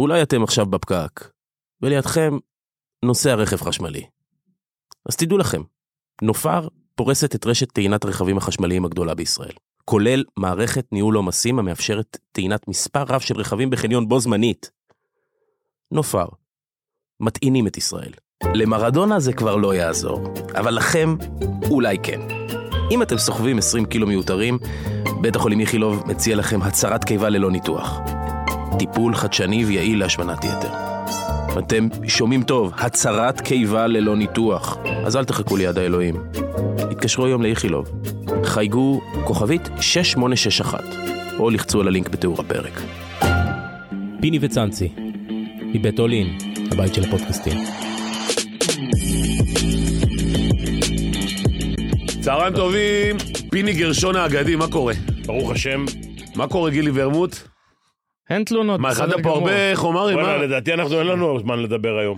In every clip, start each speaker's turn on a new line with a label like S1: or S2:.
S1: אולי אתם עכשיו בפקק, ולידכם נוסע רכב חשמלי. אז תדעו לכם, נופר פורסת את רשת טעינת הרכבים החשמליים הגדולה בישראל, כולל מערכת ניהול עומסים המאפשרת טעינת מספר רב של רכבים בחניון בו זמנית. נופר, מטעינים את ישראל. למרדונה זה כבר לא יעזור, אבל לכם אולי כן. אם אתם סוחבים 20 קילו מיותרים, בית החולים איכילוב מציע לכם הצהרת קיבה ללא ניתוח. טיפול חדשני ויעיל להשמנת יתר. אתם שומעים טוב, הצהרת קיבה ללא ניתוח. אז אל תחכו ליד האלוהים. התקשרו היום לאיכילוב. חייגו כוכבית 6861, או לחצו על הלינק בתיאור הפרק. פיני וצאנצי, מבית אולין, הבית של הפודקאסטים.
S2: צהריים טובים, פיני גרשון האגדי, מה קורה?
S3: ברוך השם,
S2: מה קורה גילי ורמוט?
S4: אין תלונות,
S2: מה, הכנת פה הרבה חומרים, אה?
S3: וואלה,
S2: מה?
S3: לדעתי אנחנו אין לנו זמן לדבר היום.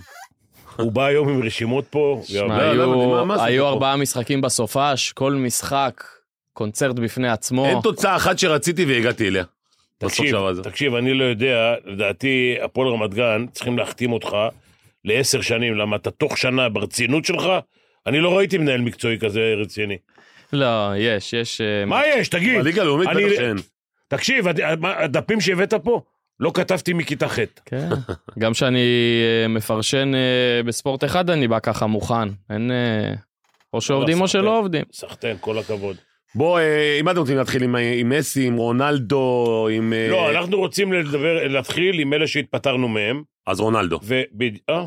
S3: הוא בא היום עם רשימות פה,
S2: לא,
S4: שמע,
S2: לא,
S4: היו-
S2: מה- מה עשית
S4: היו
S2: פה?
S4: ארבעה משחקים בסופש, כל משחק, קונצרט בפני
S2: אין
S4: עצמו.
S2: תוצאה אחת שרציתי והגעתי אליה. בסוף
S3: תקשיב,
S2: שעבר הזה.
S3: תקשיב, אני לא יודע, לדעתי הפועל רמת גן צריכים להחתים אותך לעשר שנים, למה אתה תוך שנה ברצינות שלך, אני לא ראיתי מנהל מקצועי כזה רציני.
S4: לא, יש, יש... אה,
S3: מה יש, תגיד?
S2: בליגה הלאומית
S3: אני-
S2: בטח שאין.
S3: תקשיב, הד- מה- הדפים שהבאת פה, לא כתבתי מכיתה ח'.
S4: כן. גם כשאני אה, מפרשן אה, בספורט אחד, אני בא ככה מוכן. אין... אה,
S2: לא,
S4: או שעובדים או
S3: לעשות, כן.
S4: שלא עובדים.
S3: סחטיין, כל הכבוד.
S2: בוא, אה, אם אתם רוצים להתחיל עם- עם מסי, עם רונלדו, עם... אה,
S3: לא, אנחנו רוצים לדבר, להתחיל עם אלה שהתפטרנו מהם,
S2: אז רונלדו.
S3: ובד... אה?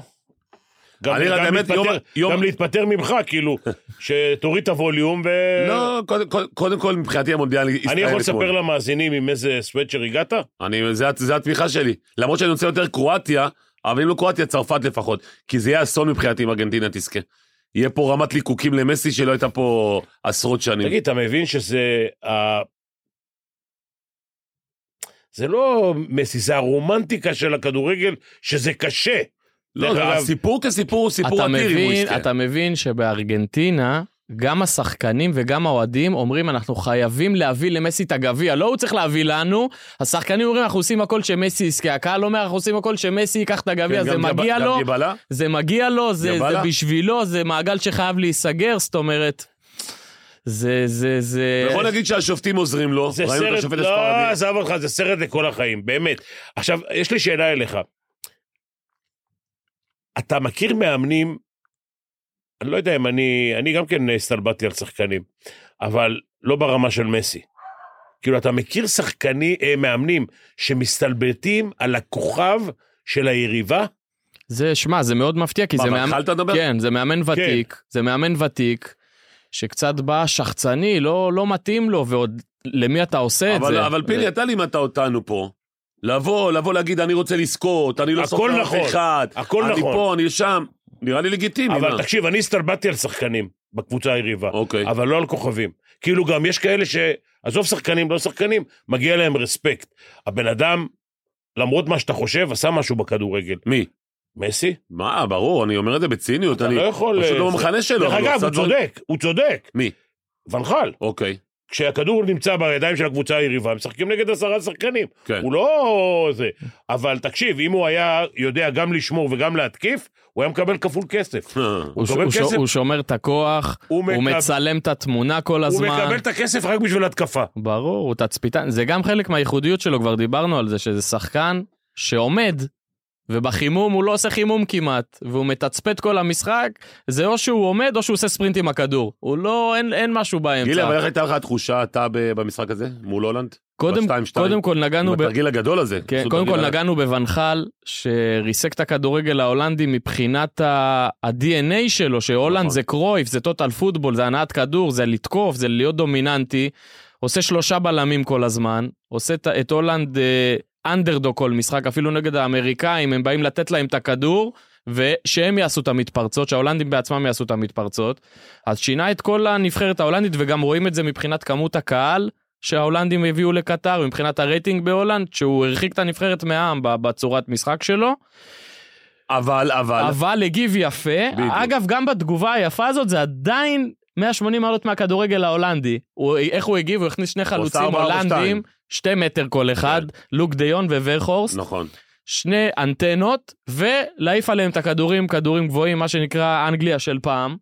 S3: גם,
S2: אני
S3: גם,
S2: רק, האמת,
S3: להתפטר,
S2: יום- יום-
S3: גם להתפטר ממך, כאילו, שתוריד את הווליום ו...
S2: לא, קודם כל- קודם כל מבחינתי המונדיאל הסתיים
S3: אה, אני יכול
S2: אתמול.
S3: לספר למאזינים עם איזה סוואצ'ר הגעת?
S2: אני, זה, זה התמיכה שלי. למרות שאני רוצה יותר קרואטיה, אבל אם לא קרואטיה, צרפת לפחות. כי זה יהיה אסון מבחינתי אם ארגנטינה תזכה. יהיה פה רמת ליקוקים למסי שלא הייתה פה עשרות שנים.
S3: תגיד, אתה מבין שזה... ה- זה לא מסי, זה הרומנטיקה של הכדורגל, שזה קשה.
S2: לא,
S3: דרך
S2: זה-
S3: אגב,
S2: הסיפור כסיפור הוא סיפור
S4: אתה
S2: אדיר אם הוא
S4: מבין,
S2: יזכה.
S4: אתה מבין שבארגנטינה... גם השחקנים וגם האוהדים אומרים, אנחנו חייבים להביא למסי את הגביע. לא הוא צריך להביא לנו, השחקנים אומרים, אנחנו עושים הכל שמסי יזכה. הקהל אומר, אנחנו עושים הכל שמסי ייקח את הגביע,
S2: כן,
S4: זה
S2: גם
S4: מגיע
S2: גב-
S4: לו.
S2: גם דיבלה?
S4: זה מגיע לו, זה, זה
S2: יאללה.
S4: בשבילו, זה מעגל שחייב להיסגר, זאת אומרת, זה, זה, זה...
S2: בוא נגיד שהשופטים עוזרים לו.
S3: אה, זה
S2: ראינו את
S3: סרט,
S2: השופט
S3: לא,
S2: הספרדי.
S3: עזב אותך, זה סרט לכל החיים, באמת. עכשיו, יש לי שאלה אליך. אתה מכיר מאמנים, אני לא יודע אם אני, אני גם כן הסתלבטתי על שחקנים, אבל לא ברמה של מסי. כאילו, אתה מכיר שחקני, אה, מאמנים שמסתלבטים על הכוכב של היריבה?
S4: זה, שמע, זה מאוד מפתיע, כי
S2: מה,
S4: זה
S2: אבל
S4: מאמן...
S2: התחלת לדבר?
S4: כן, זה מאמן ותיק, זה מאמן ותיק, שקצת בא שחצני, לא, לא מתאים לו, ועוד למי אתה עושה
S3: כן,
S4: את
S2: אבל-
S4: זה?
S2: אבל פיני, אתה לימדת אותנו פה. לבוא, לבוא להגיד, אני רוצה לזכות, אני לא
S3: הכל
S2: סופר אף
S3: נכון,
S2: אחד.
S3: הכל
S2: אני
S3: נכון.
S2: פה, אני שם. נראה לי לגיטימי. מה?
S3: אבל תקשיב, אני הסתלבטתי על שחקנים בקבוצה היריבה.
S2: אוקיי.
S3: אבל לא על כוכבים. כאילו גם יש כאלה ש... עזוב שחקנים, לא שחקנים, מגיע להם רספקט. הבן אדם, למרות מה שאתה חושב, עשה משהו בכדורגל.
S2: מי?
S3: מסי?
S2: מה, ברור, אני אומר את זה בציניות.
S3: אתה
S2: אני
S3: לא יכול...
S2: פשוט
S3: אה,
S2: לא
S3: זה-
S2: במחנה שלו.
S3: דרך
S2: אבל
S3: אגב,
S2: עשה
S3: הוא
S2: דברים-
S3: צודק, הוא צודק.
S2: מי?
S3: ונחל,
S2: אוקיי,
S3: כשהכדור נמצא בידיים של הקבוצה היריבה, משחקים נגד עשרה שחקנים.
S2: כן.
S3: הוא לא... זה. אבל תקשיב, אם הוא היה יודע גם לשמור וגם להתקיף, הוא היה מקבל כפול כסף.
S4: הוא, ש...
S3: מקבל
S4: הוא, ש...
S3: כסף.
S4: הוא שומר את הכוח,
S3: הוא
S4: הוא,
S3: מקב-
S4: מצלם את התמונה כל
S3: הוא
S4: הזמן.
S3: מקבל את הכסף רק בשביל התקפה.
S4: ברור, הוא תצפיתן, זה גם חלק מהייחודיות שלו, כבר דיברנו על זה, שזה שחקן שעומד, ובחימום הוא לא עושה חימום כמעט, והוא מתצפת כל המשחק, זה או שהוא עומד או שהוא עושה ספרינט עם הכדור. הוא לא, אין, אין משהו באמצע.
S2: גילי, אבל איך הייתה לך התחושה אתה ב- במשחק הזה, מול הולנד?
S4: קודם,
S2: בשתיים-שתיים?
S4: קודם כל נגענו,
S2: עם
S4: ב...
S2: התרגיל הגדול הזה.
S4: כן,
S2: פשוט
S4: קודם כל
S2: תרגיל-
S4: נגענו בוונחל, שריסק את הכדורגל ההולנדי מבחינת ה- ה-DNA שלו, שהולנד
S2: נכון.
S4: זה קרויף, זה טוטל פוטבול, זה הנעת כדור, זה לתקוף, זה להיות דומיננטי. עושה שלושה בלמים כל הזמן, עושה את- את הולנד אה, אנדרדו כל משחק, אפילו נגד האמריקאים, הם באים לתת להם את הכדור, ושהם יעשו את המתפרצות, שההולנדים בעצמם יעשו את המתפרצות. אז שינה את כל הנבחרת ההולנדית, וגם רואים את זה מבחינת כמות הקהל שההולנדים הביאו לקטר, מבחינת הרייטינג בהולנד, שהוא הרחיק את הנבחרת מהעם ב- בצורת משחק שלו,
S2: אבל, אבל,
S4: אבל הגיב יפה.
S2: בדיוק.
S4: אגב, גם בתגובה היפה הזאת זה עדיין 180 מעלות מהכדורגל ההולנדי. הוא, איך הוא הגיב? הוא הכניס שני
S2: עושה
S4: חלוצים
S2: ארבע, ארבע, שתיים.
S4: הולנדים, שתי מטר כל אחד, לוק דיון וורכורסט.
S2: כן. נכון.
S4: שני אנטנות, ולהעיף עליהם את הכדורים, כדורים גבוהים, מה שנקרא אנגליה של פעם.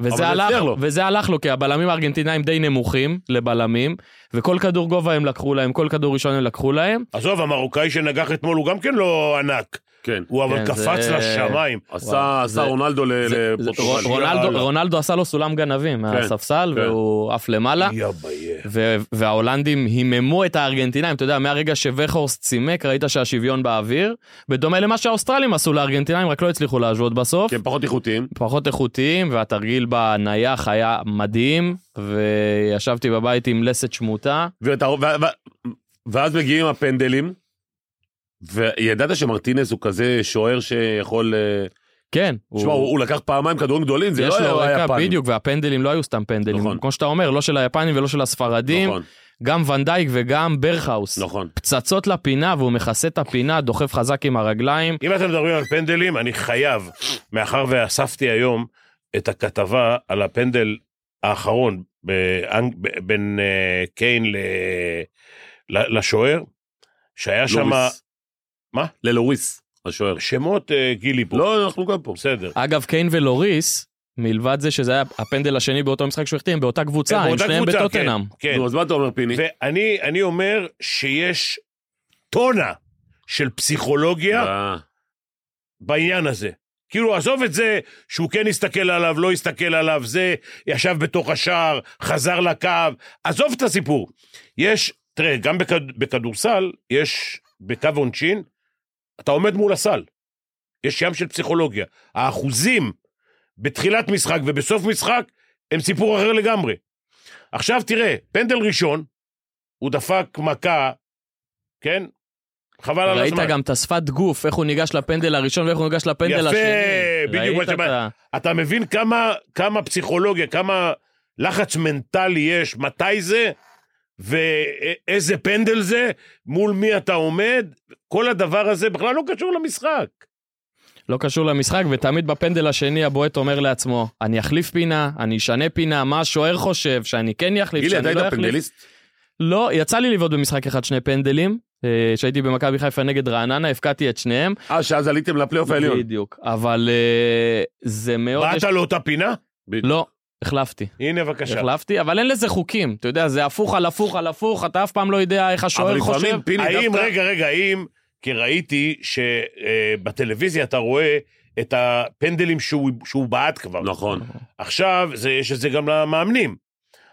S2: אבל זה
S4: וזה הלך,
S2: הצליח לו.
S4: וזה הלך לו, כי הבלמים הארגנטינאים די נמוכים לבלמים, וכל כדור גובה הם לקחו להם, כל כדור ראשון הם לקחו להם.
S3: עזוב, המרוקאי שנגח אתמול הוא גם כן לא ענק.
S2: כן.
S3: הוא
S4: כן,
S3: אבל קפץ
S4: זה-
S3: לשמיים.
S2: עשה עשה
S4: זה-
S2: רונלדו ל-
S4: זה- זה-
S2: לפורטוגל.
S3: רון-
S4: רונלדו-
S3: יאללה.
S4: רונלדו עשה לו סולם גנבים מהספסל,
S2: כן.
S4: והוא עף למעלה.
S3: יא ביה.
S4: ו- וההולנדים היממו את הארגנטינאים, אתה יודע, מהרגע שווכהורסט צימק, ראית שהשוויון באוויר, בדומה למה שהאוסטרלים עשו לארגנטינאים, רק לא הצליחו להשוות בסוף.
S2: כי כן, הם פחות איכותיים.
S4: פחות איכותיים, והתרגיל בנייח היה מדהים, וישבתי בבית עם לסת שמוטה.
S2: ואת ה- ו- ו- ואז מגיעים הפנדלים, וידעת שמרטינז הוא כזה שוער שיכול... אה,
S4: כן,
S2: תשמע, הוא הוא לקח פעמיים כדורים גדולים, זה
S4: יש
S2: לא היה
S4: לו
S2: הוא היה
S4: רקע
S2: יפני.
S4: בדיוק, והפנדלים לא היו סתם פנדלים.
S2: נכון.
S4: כמו שאתה אומר, לא של היפנים ולא של הספרדים,
S2: נכון,
S4: גם ונדייק וגם ברכהאוס.
S2: נכון.
S4: פצצות לפינה, והוא מכסה את הפינה, דוחף חזק עם הרגליים.
S3: אם אתם מדברים על פנדלים, אני חייב, מאחר ואספתי היום את הכתבה על הפנדל האחרון באנג- ב- בין אה, קיין ל- ל- לשוער, שהיה שם
S2: לוריס.
S3: מה?
S2: ללוריס, השוער.
S3: שמות אה, גילי פה.
S2: לא, אנחנו גם פה.
S3: בסדר.
S4: אגב, קיין ולוריס, מלבד זה שזה היה הפנדל השני באותו משחק שהוא החתים, באותה קבוצה,
S3: הם
S4: הם
S3: כן, באותה
S4: שניהם
S3: קבוצה,
S4: בטוטנאם.
S3: כן, כן.
S2: נו, אז מה אתה אומר, פיני?
S3: ואני אני אומר שיש טונה של פסיכולוגיה
S2: אה,
S3: בעניין הזה. כאילו, עזוב את זה שהוא כן הסתכל עליו, לא הסתכל עליו, זה ישב בתוך השער, חזר לקו, עזוב את הסיפור. יש, תראה, גם בכד, בכדורסל, יש בקו עונשין, אתה עומד מול הסל. יש ים של פסיכולוגיה. האחוזים בתחילת משחק ובסוף משחק הם סיפור אחר לגמרי. עכשיו תראה, פנדל ראשון, הוא דפק מכה, כן? חבל על
S4: ראית
S3: הזמן.
S4: גם את השפת גוף, איך הוא ניגש לפנדל הראשון ואיך הוא ניגש לפנדל
S3: יפה,
S4: השני.
S3: בדיוק
S4: ראית
S3: מה שבא-
S4: את ה-
S3: אתה מבין כמה, כמה פסיכולוגיה, כמה לחץ מנטלי יש, מתי זה, ואיזה פנדל זה, מול מי אתה עומד, כל הדבר הזה בכלל לא קשור למשחק.
S4: לא קשור למשחק, ותמיד בפנדל השני הבועט אומר לעצמו, אני אחליף פינה, אני אשנה פינה, מה השוער חושב, שאני כן אחליף,
S2: גילי, אתה
S4: שאני לא
S2: היית
S4: אחליף.
S2: פנדליסט?
S4: לא, יצא לי לבעוט במשחק אחד שני פנדלים, אה, שהייתי במכבי חיפה נגד רעננה, הפקעתי את שניהם.
S2: אה, שאז עליתם לפלייאוף העליון.
S4: בדיוק. אבל אה, זה מאוד...
S3: באת
S4: יש-
S3: לאותה פינה?
S4: לא, החלפתי.
S3: הנה בבקשה.
S4: החלפתי, אבל אין לזה חוקים, אתה יודע, זה הפוך על הפוך על הפוך, אתה אף פעם לא יודע איך השוער
S2: אבל
S4: חושב.
S2: לפעמים, פיני,
S3: האם,
S2: דווקא...
S3: רגע, רגע, האם, כי ראיתי שבטלוויזיה אתה רואה את הפנדלים שהוא, שהוא בעט כבר.
S2: נכון.
S3: עכשיו, זה, יש את זה גם למאמנים.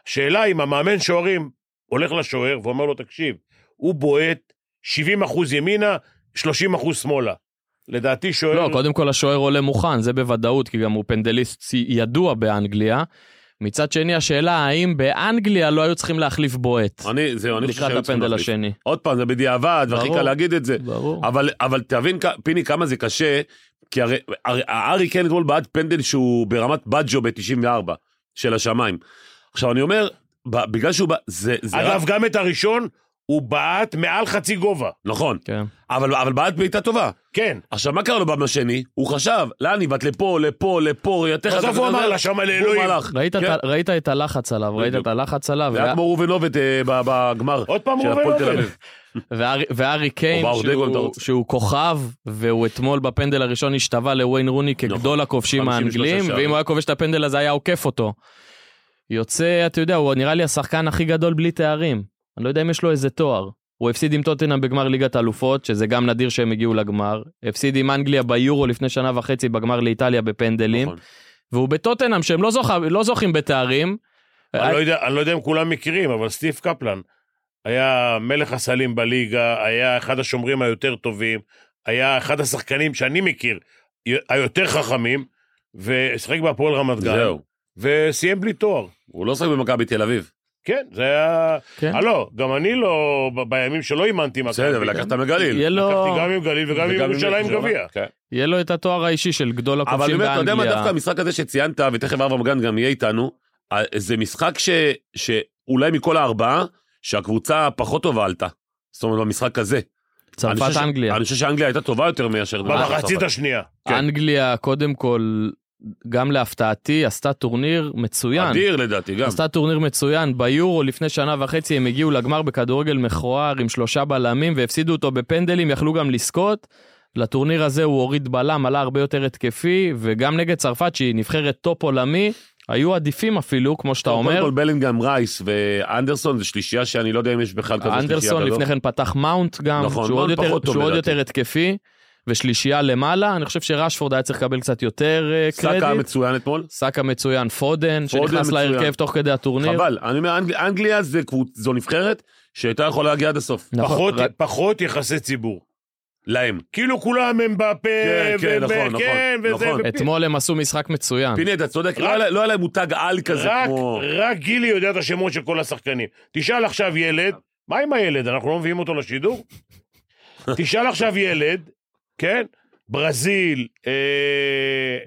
S3: השאלה אם המאמן שוערים הולך לשוער ואומר לו, תקשיב, הוא בועט 70 אחוז ימינה, 30 אחוז שמאלה. לדעתי שוער...
S4: לא, קודם כל השוער עולה מוכן, זה בוודאות, כי גם הוא פנדליסט צי- ידוע באנגליה. מצד שני, השאלה האם באנגליה לא היו צריכים להחליף בועט
S2: אני, זהו, אני חושב
S4: לקראת
S2: שהיו צריכים
S4: הפנדל
S2: להחליף.
S4: השני.
S2: עוד פעם, זה בדיעבד, והכי
S4: ברור.
S2: קל להגיד את זה.
S4: ברור.
S2: אבל, אבל תבין, כ- פיני, כמה זה קשה, כי הרי הרי- הארי קיין אתמול בעד פנדל שהוא ברמת בג'ו ב-94, של השמיים. עכשיו, אני אומר, ב- בגלל שהוא... בא- זה... זה
S3: אגב, גם את הראשון, הוא בעט מעל חצי גובה.
S2: נכון,
S4: כן.
S2: אבל, אבל בעד בעיטה טובה.
S3: כן.
S2: עכשיו, מה קרה לו פעם השני? הוא חשב, לאן היא בת לפה, לפה, לפה, יותר חזק.
S3: בסוף הוא
S2: יותר
S3: אמר
S2: זה.
S3: לה שם
S2: והוא
S3: לאלוהים.
S2: הלך.
S4: ראית,
S2: כן.
S4: את, ה- ראית את הלחץ עליו, ראית
S2: בדיוק.
S4: את הלחץ עליו,
S2: זה היה כמו ראובן עובד אה, ב- בגמר.
S3: עוד פעם
S2: של
S3: ראובן
S2: הפועל תל
S3: עובד.
S2: אביב.
S4: והארי- והארי קיין,
S2: באורדגון,
S4: שהוא-
S2: אתה רוצה.
S4: שהוא כוכב, והוא אתמול בפנדל הראשון השתווה לוויין רוני כגדול הכובשים
S2: 53
S4: האנגלים,
S2: נכון. שערים.
S4: ואם הוא היה כובש את הפנדל הזה היה עוקף אותו. יוצא, אתה יודע, הוא נראה לי השחקן הכי גדול בלי תארים. אני לא יודע אם יש לו איזה תואר. הוא הפסיד עם טוטנאם בגמר ליגת אלופות, שזה גם נדיר שהם הגיעו לגמר. הפסיד עם אנגליה ביורו לפני שנה וחצי בגמר לאיטליה בפנדלים.
S2: נכון.
S4: והוא בטוטנאם, שהם לא, זוכה, לא זוכים בתארים. אה,
S3: אני לא יודע- אני לא יודע אם כולם מכירים, אבל סטיב קפלן היה מלך הסלים בליגה, היה אחד השומרים היותר טובים, היה אחד השחקנים שאני מכיר, י- היותר חכמים, ושיחק בהפועל רמת גן,
S2: זהו.
S3: וסיים בלי תואר.
S2: הוא לא שחק במכבי תל אביב.
S3: כן, זה היה...
S4: כן.
S3: הלו, גם אני לא, ב- בימים שלא אימנתי מכבי.
S2: בסדר, ולקחת מגליל.
S4: יהיה לו,
S3: לקחתי גם עם גליל וגם עם
S2: וגם עם
S3: ירושלים
S2: ירושלים.
S3: גביע.
S2: כן.
S4: יהיה לו את התואר האישי של גדול
S2: אבל אני
S4: הכובשים
S2: אומר,
S4: באנגליה.
S2: אתה יודע מה, דווקא המשחק הזה שציינת, ותכף אברהם גן גם יהיה איתנו, אה, זה משחק ש, שאולי מכל הארבעה, שהקבוצה הפחות טובה עלתה. זאת אומרת, במשחק הזה. אני חושב ש-
S4: צרפת-אנגליה.
S2: נכון. אני חושב שאנגליה הייתה טובה יותר מאשר...
S3: במחצית השנייה.
S2: כן.
S4: אנגליה, קודם כל, גם להפתעתי, עשתה טורניר מצוין.
S2: אדיר לדעתי גם.
S4: עשתה טורניר מצוין. ביורו לפני שנה וחצי הם הגיעו לגמר בכדורגל מכוער עם שלושה בלמים והפסידו אותו בפנדלים, יכלו גם לזכות. לטורניר הזה הוא הוריד בלם, עלה הרבה יותר התקפי, וגם נגד צרפת שהיא נבחרת טופ עולמי, היו עדיפים אפילו, כמו שאתה
S2: קודם
S4: אומר.
S2: כל בלינגהם רייס ואנדרסון זה שלישייה שאני לא יודע אם יש בכלל כזאת שלישייה כזאת.
S4: אנדרסון לפני כן פתח מאונט גם,
S2: לא? נכון,
S4: שהוא, עוד
S2: מאונט
S4: יותר,
S2: פחות טוב
S4: שהוא עוד
S2: לדעתי.
S4: יותר התקפי, ושלישייה למעלה, אני חושב שרשפורד היה צריך לקבל קצת יותר אה, קרדיט.
S2: סאקה מצוין אתמול.
S4: סאקה מצוין, פודן,
S2: פודן
S4: שנכנס
S2: מצוין.
S4: להרכב תוך כדי הטורניר.
S2: חבל, אני אומר, אנג- אנגליה זה קבוצ- זו נבחרת שהייתה יכולה להגיע עד הסוף.
S4: נכון.
S3: פחות-
S2: רק-
S3: פחות יחסי ציבור.
S2: להם.
S3: כאילו כולם הם בפה,
S2: כן, כן,
S3: ו-
S2: נכון,
S3: ו-
S2: נכון,
S3: כן, וזה,
S2: נכון.
S3: ופ-
S4: אתמול הם עשו משחק מצוין.
S2: פיני, אתה צודק, לא
S3: רק-
S2: היה- לא היה להם מותג על כזה
S3: רק-
S2: כמו...
S3: רק גילי יודע את השמות של כל השחקנים. תשאל עכשיו ילד, מה עם הילד? אנחנו לא מביאים אותו לשידור? תשאל עכשיו ילד, כן? ברזיל, אה,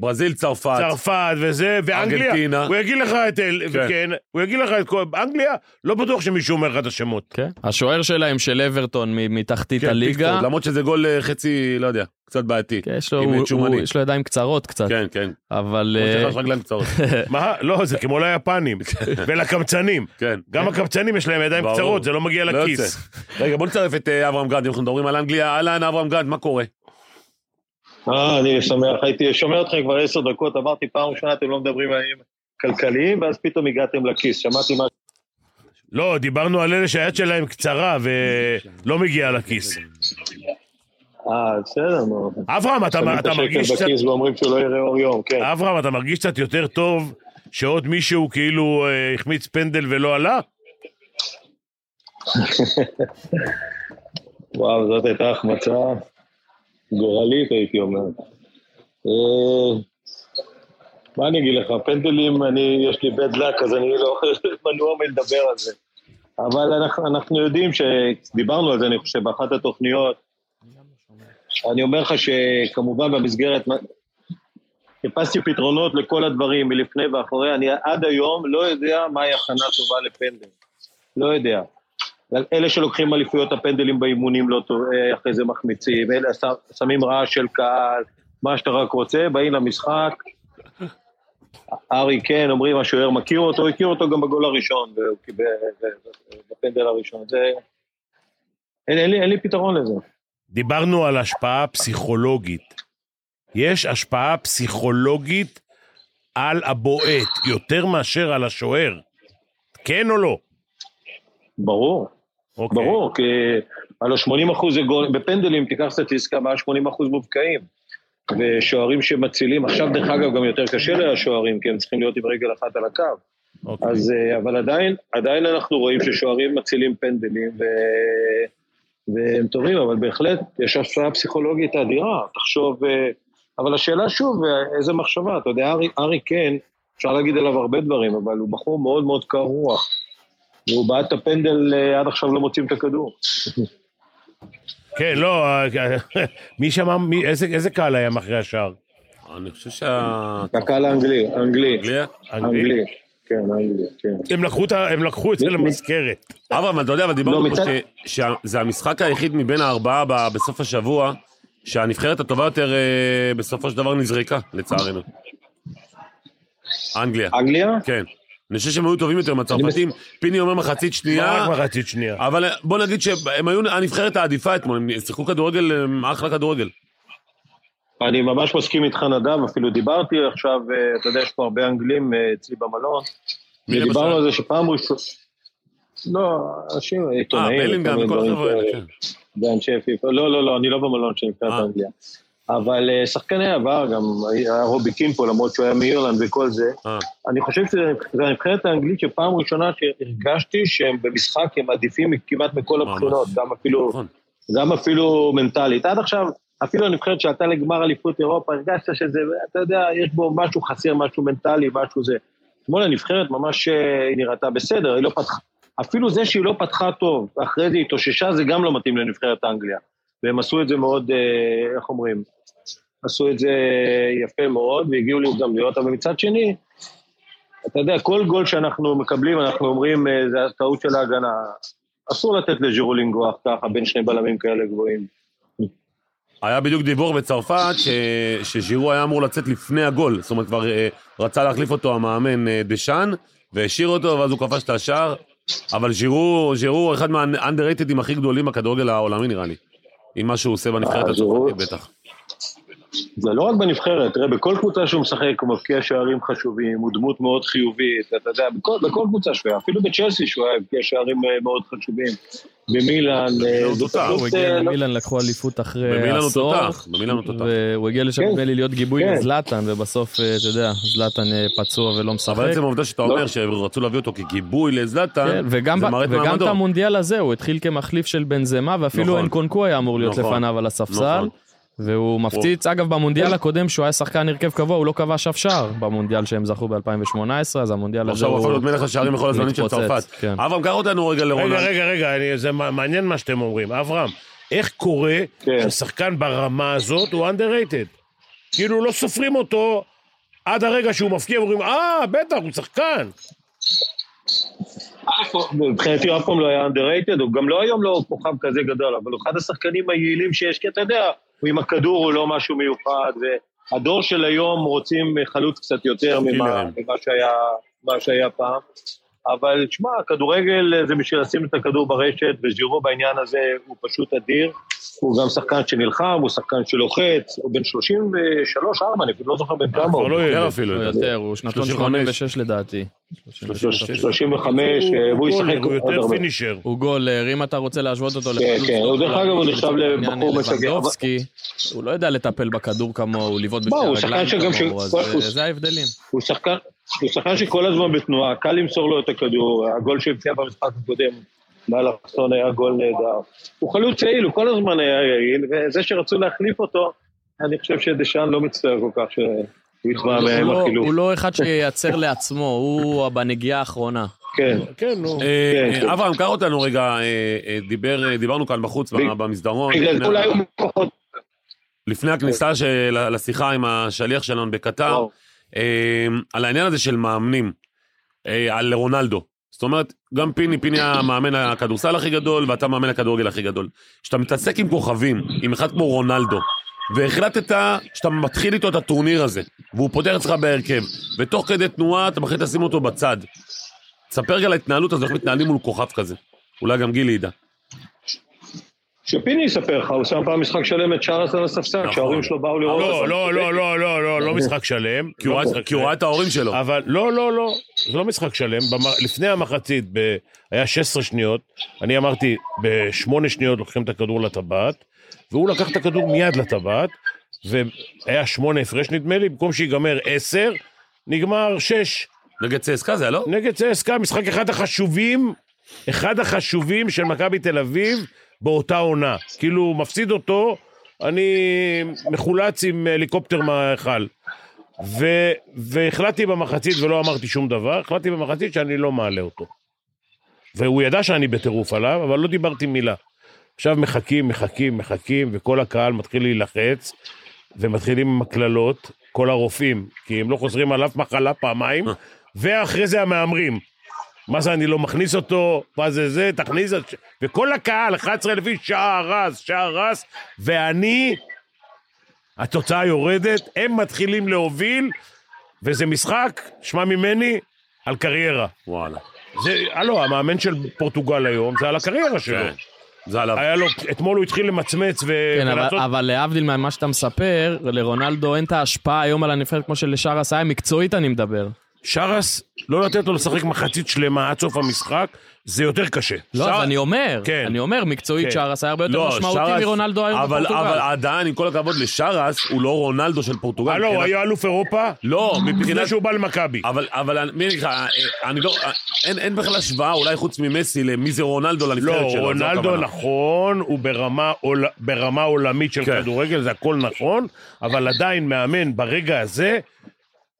S2: ברזיל, צרפת.
S3: צרפת וזה, ואנגליה.
S2: ארגנטינה.
S3: הוא יגיד לך את אל...
S2: כן.
S3: כן. הוא יגיד לך את כל... אנגליה, לא בטוח שמישהו אומר לך את השמות.
S4: כן. השוער שלהם של אברטון מ- מתחתית
S2: כן,
S4: הליגה.
S2: פיקפורד, למרות שזה גול אה, חצי, לא יודע, קצת בעייתי.
S4: כן, יש לו-
S2: עם
S4: הוא-
S2: צ'ומני.
S4: הוא- יש לו ידיים קצרות קצת,
S2: כן, כן.
S4: אבל...
S2: כמו
S4: אה,
S2: שלך יש רגליים קצרות.
S3: מה? לא, זה כמו ליפנים. ולקמצנים.
S2: כן.
S3: גם הקמצנים יש להם ידיים
S2: ברור.
S3: קצרות, זה לא מגיע
S2: לא
S3: לכיס.
S2: יוצא. רגע, בוא נצרף את אה, אברהם גרנד, אם אנחנו מדברים על אנגליה. אהלן, אברהם גרנד, מה קורה?
S5: אה, אני שמח, הייתי שומע אתכם כבר עשר דקות, אמרתי פעם ראשונה אתם לא מדברים על עניינים כלכליים, ואז פתאום הגעתם לכיס, שמעתי מה...
S3: לא, דיברנו על אלה שהיד שלהם קצרה ולא מגיעה לכיס.
S5: אה, בסדר, נו.
S3: אברהם, אתה
S5: שמים את
S3: אתה
S5: השקל
S3: מרגיש קצת...
S5: בכיס ואומרים שהוא לא יראה אור יום, כן.
S3: אברהם, אתה מרגיש קצת יותר טוב שעוד מישהו כאילו אה, החמיץ פנדל ולא עלה?
S5: וואו, זאת הייתה החמצה גורלית, הייתי אומר. אה, מה אני אגיד לך, פנדלים, אני, יש לי bad luck, אז אני לא מנוע מלדבר על זה. אבל אנחנו, אנחנו יודעים שדיברנו על זה, אני חושב, באחת התוכניות. אני אומר לך שכמובן במסגרת... חיפשתי פתרונות לכל הדברים מלפני ואחורי, אני עד היום לא יודע מהי הכנה טובה לפנדל. לא יודע. אלה שלוקחים אליפויות הפנדלים באימונים לא טוב, אה, אחרי זה מחמיצים, אלה ש- שמים רעש של קהל, מה שאתה רק רוצה, באים למשחק, ארי כן, אומרים השוער מכיר אותו, הוא הכיר אותו גם בגול הראשון, והוא קיבל- ו- ו- בפנדל הראשון, זה... אין, אין, לי, אין לי פתרון לזה.
S3: דיברנו על השפעה פסיכולוגית. יש השפעה פסיכולוגית על הבועט יותר מאשר על השוער. כן או לא?
S5: ברור,
S3: אוקיי.
S5: ברור, כי הלוא 80 אחוז זה גול, בפנדלים תיקח סטטיסטיקה, מעל 80 אחוז מובקעים. ושוערים שמצילים, עכשיו דרך אגב גם יותר קשה לשוערים, כי הם צריכים להיות עם רגל אחת על הקו.
S3: אוקיי.
S5: אז, אה, אבל עדיין, עדיין אנחנו רואים ששוערים מצילים פנדלים ו... והם טובים, אבל בהחלט יש הפרעה פסיכולוגית אדירה, תחשוב, אה, אבל השאלה שוב, אה, איזה מחשבה, אתה יודע, ארי, ארי כן, אפשר להגיד עליו הרבה דברים, אבל הוא בחור מאוד מאוד קר רוח, והוא בעט את הפנדל, אה, עד עכשיו לא מוצאים את הכדור.
S3: כן, לא, אה, מי שמע, מי- איזה- איזה קהל היה מאחורי השער?
S2: אני חושב שה...
S5: הקהל האנגלי, האנגלי,
S2: אנגליה?
S3: אנגלי?
S5: האנגלי, כן, האנגלי, כן.
S3: הם לקחו את ה- הם לקחו את זה למזכרת.
S2: אברהם, אתה יודע, אבל דיברנו
S5: לא,
S2: פה
S5: מצד-
S2: ש- שזה המשחק היחיד מבין הארבעה ב- בסוף השבוע, שהנבחרת הטובה יותר אה, בסופו של דבר נזרקה, לצערנו. אנגליה,
S5: אנגליה?
S2: כן. אני חושב שהם היו טובים יותר מהצרפתים. פיני אומר מחצית שנייה,
S3: רק מחצית שנייה.
S2: אבל אה, בוא נגיד שהם היו הנבחרת העדיפה אתמול, הם שיחקו כדורגל, אה, אחלה כדורגל.
S5: אני ממש מסכים איתך נדב, אפילו דיברתי עכשיו, אה, אתה יודע, יש פה הרבה אנגלים אה, אצלי במלון,
S2: מי למשל?
S5: ודיברנו על זה שפעם ראשונה... לא, אנשים,
S2: אה,
S5: עיתונאים, לא, אה, כל
S2: בלינגהם,
S5: מיני
S2: כל
S5: דברים
S2: החבר'ה האלה,
S5: כאלה,
S2: כן.
S5: ואנשי פיפ"א, לא, לא, לא, אני לא במלון שנקרא
S2: אה.
S5: באנגליה. אבל אה, שחקני עבר, גם היה רובי קים פה, למרות שהוא היה מאירלנד וכל זה.
S2: אה.
S5: אני חושב שזו הנבחרת האנגלית שפעם ראשונה שהרגשתי שהם במשחק, הם עדיפים כמעט מכל
S2: ממש.
S5: הבחינות, גם אפילו...
S2: נכון.
S5: גם אפילו מנטלית. עד עכשיו, אפילו הנבחרת שעלתה לגמר אליפות אירופה, הרגשת שזה, אתה יודע, יש בו משהו חסר, משהו מנטלי, משהו זה. אתמול הנבחרת ממש אה, היא נראתה בסדר, היא לא פתחה. אפילו זה שהיא לא פתחה טוב, אחרי זה היא התאוששה, זה גם לא מתאים לנבחרת אנגליה. והם עשו את זה מאוד, אה, איך אומרים? עשו את זה אה, יפה מאוד, והגיעו להזדמנויות, אבל מצד שני, אתה יודע, כל גול שאנחנו מקבלים, אנחנו אומרים, אה, זה הטעות של ההגנה. אסור לתת לז'ירו לנגוח ככה בין שני בלמים כאלה גבוהים.
S2: היה בדיוק דיבור בצרפת ש... שז'ירו היה אמור לצאת לפני הגול, זאת אומרת כבר אה, רצה להחליף אותו המאמן אה, דשאן, והשאיר אותו ואז הוא כבש את השער, אבל ז'ירו, ז'ירו הוא אחד מהאנדררייטדים הכי גדולים בכדורגל העולמי נראה לי, עם מה שהוא עושה בנבחרת
S5: אה, ז'ירו.
S2: הצרפתית בטח.
S5: זה לא רק בנבחרת, תראה, בכל קבוצה שהוא משחק הוא מבקיע שערים חשובים, הוא דמות מאוד חיובית, אתה יודע, בכל, בכל קבוצה שהוא היה, אפילו בצ'לסי שהוא היה מבקיע שערים אה, מאוד חשובים, במילאן, אה,
S2: הוא
S5: זה
S2: תותח,
S5: פשוט,
S4: הוא הגיע
S5: אה, לא-
S4: למילן, לקחו אליפות אחרי
S2: במילאן הוא
S4: אה, עשור.
S2: תותח, במילאן הוא תותח.
S4: והוא הגיע לשם
S5: כן.
S4: נדמה לי להיות גיבוי
S5: כן.
S4: לזלאטן, ובסוף, אה, אתה יודע, זלאטן אה, פצוע ולא משחק.
S2: אבל עצם העובדה שאתה
S5: לא.
S2: אומר שרצו להביא אותו כגיבוי
S4: כן,
S2: לזלאטן,
S4: וגם
S2: זה
S4: ב-
S2: מראה את
S4: וגם את
S2: מעמדו.
S4: המונדיאל הזה, הוא התחיל כמחליף של בנזמה, ואפילו
S2: נכון.
S4: אנקונקו היה אמור להיות
S2: נכון.
S4: לפניו על הספסל.
S2: נכון.
S4: והוא מפציץ, אגב במונדיאל הקודם שהוא היה שחקן הרכב קבוע הוא לא כבש אף שער במונדיאל שהם זכו ב-2018 אז המונדיאל הזה
S2: עכשיו הוא הפך להיות
S4: הוא...
S2: מלך השערים בכל הזמנים של
S4: מתפוצץ,
S2: צרפת. אה,
S4: כן.
S2: אברהם, קח אותנו רגע
S3: רגע,
S2: לרונלד.
S3: רגע, רגע, אני, זה מע- מעניין מה שאתם אומרים. אברהם, איך קורה
S5: כן.
S3: ששחקן ברמה הזאת הוא underrated? כאילו לא סופרים אותו עד הרגע שהוא מפקיע, ואומרים, אה, בטח, הוא שחקן.
S5: אף פעם- מבחינתי הוא אף פעם לא היה underrated, הוא גם לא היום לא כוכב כזה גדול, אבל הוא אחד השחקנים היעילים שיש, כי אתה יודע, הוא עם הכדור הוא לא משהו מיוחד, והדור של היום רוצים חלוץ קצת יותר ממה,
S2: קילרים.
S5: ממה שהיה, מה שהיה פעם. אבל שמע, כדורגל זה בשביל לשים את הכדור ברשת, וז'ירו בעניין הזה הוא פשוט אדיר. הוא גם שחקן שנלחם, הוא שחקן שלוחץ, הוא בן 33-4, אני אפילו לא זוכר בן כמה
S3: כבר
S5: הוא.
S3: לא
S2: יותר
S3: יודע.
S2: אפילו.
S4: הוא
S2: לדעתי.
S4: יותר, הוא שנתון
S2: 35.
S4: 86 לדעתי.
S5: 35, אה, והוא
S3: הוא
S5: ישחק
S3: גולר, הוא
S5: עוד
S3: יותר
S5: הרבה.
S3: פינישר.
S4: הוא גולר, אם אתה רוצה להשוות אותו
S5: כן,
S4: לחלוץ
S5: כן, הוא
S4: טוב
S5: דרך
S4: עולמי,
S5: אגב, הוא נחשב
S4: לצורך העניין,
S5: לבחור משגע,
S4: לבנדובסקי, הוא לא יודע לטפל בכדור כמוהו, לבעוט בשתי
S5: בוא, הוא
S4: הרגליים
S5: שחקן שגם
S4: כמוהו,
S5: ש-
S4: אז
S5: הוא-
S4: אה,
S5: הוא-
S4: זה ההבדלים.
S5: הוא שחקן, הוא שחקן שכל הזמן בתנועה, קל למסור לו את הכדור, הגול שהבקיע במשחק הקודם, מאלכסון היה גול נהדר. הוא חלוץ יעיל, הוא כל הזמן היה יעיל, וזה שרצו להחליף אותו, אני חושב שדשאן לא מצטער כל כך שהוא התמהמה עם
S4: הוא לא-
S5: החילוף.
S4: הוא לא אחד שייצר לעצמו, הוא בנגיעה האחרונה.
S5: כן,
S3: כן, נו.
S2: אה,
S5: כן, כן.
S2: אברהם, קח אותנו רגע, אה, אה, דיבר- דיברנו כאן בחוץ,
S5: ב-
S2: במסדרון,
S5: בגלל זה
S2: לפני-
S5: אולי הוא פחות...
S2: לפני הכניסה של- לשיחה עם השליח שלנו בקטר, אה, על העניין הזה של מאמנים, אה, על רונלדו. זאת אומרת, גם פיני, פיני המאמן הכדורסל הכי גדול, ואתה מאמן הכדורגל הכי גדול. כשאתה מתעסק עם כוכבים, עם אחד כמו רונלדו, והחלטת שאתה מתחיל איתו את הטורניר הזה, והוא פותח אצלך בהרכב, ותוך כדי תנועה אתה מחליט לשים אותו בצד. תספר רגע על ההתנהלות הזו, איך מתנהלים מול כוכב כזה. אולי גם גילי ידע.
S5: שפיני יספר לך, הוא שם פעם משחק שלם את שרס על הספסל,
S2: נכון.
S5: כשההורים שלו באו לראות אותו.
S3: לא, לא, לא, לא, לא, לא,
S5: אוקיי.
S3: לא משחק שלם.
S2: כי הוא
S3: לא
S2: ראה-
S3: משחק
S2: כי הוא ראה את ההורים שלו.
S3: אבל לא, לא, לא, זה לא משחק שלם. במ- לפני המחצית, ב... היה 16 שניות, אני אמרתי, בשמונה שניות לוקחים את הכדור לטבעת, והוא לקח את הכדור מיד לטבעת, והיה שמונה הפרש נדמה לי, במקום שיגמר 10, נגמר 6.
S2: נגד צסקה זה היה לא?
S3: נגד צסקה, משחק אחד החשובים, אחד החשובים של מכבי תל אביב באותה עונה. כאילו, הוא מפסיד אותו, אני מחולץ עם הליקופטר מההיכל. ו- והחלטתי במחצית, ולא אמרתי שום דבר, החלטתי במחצית שאני לא מעלה אותו. והוא ידע שאני בטירוף עליו, אבל לא דיברתי מילה. עכשיו מחכים, מחכים, מחכים, וכל הקהל מתחיל להילחץ, ומתחילים עם הקללות, כל הרופאים, כי הם לא חוזרים על אף מחלה פעמיים, ואחרי זה המהמרים. מה זה, אני לא מכניס אותו, מה זה זה, תכניס... את- וכל הקהל, 11,000 איש, שעה רס, שעה רס, ואני, התוצאה יורדת, הם מתחילים להוביל, וזה משחק, שמע ממני, על קריירה.
S2: וואלה.
S3: זה, הלו, המאמן של פורטוגל היום, זה על הקריירה שלו.
S2: כן. זה עליו.
S3: היה לו, אתמול הוא התחיל למצמץ ו...
S4: כן, אבל,
S3: ולעשות-
S4: אבל להבדיל ממה שאתה מספר, לרונלדו אין את ההשפעה היום על הנבחרת כמו שלשרס היה, מקצועית אני מדבר.
S3: שרס, לא לתת לו לשחק מחצית שלמה עד סוף המשחק, זה יותר קשה.
S4: לא, אז
S3: שר-
S4: אני אומר,
S3: כן.
S4: אני אומר, מקצועית
S3: כן.
S4: שרס היה הרבה יותר
S2: לא,
S4: משמעותי
S2: שרס-
S4: מרונלדו היום
S2: אבל- אבל
S4: בפורטוגל.
S2: עדיין, עם כל הכבוד לשרס, הוא לא רונלדו של פורטוגל.
S3: הלו, הוא
S2: מבחינת-
S3: אה, היה אלוף אירופה,
S2: לא,
S3: לפני
S2: מבחינת...
S3: שהוא בא למכבי.
S2: אבל, אבל, אני- מי אני אגיד לך, אני לא... אין, אין בכלל השוואה, אולי חוץ ממסי, למי זה רונלדו לנבחרת
S3: לא,
S2: שלו. זו
S3: רונלדו
S2: הכוונה.
S3: נכון, הוא ברמה עול- ברמה עולמית של
S2: כן.
S3: כדורגל, זה הכל נכון, אבל עדיין מאמן ברגע הזה,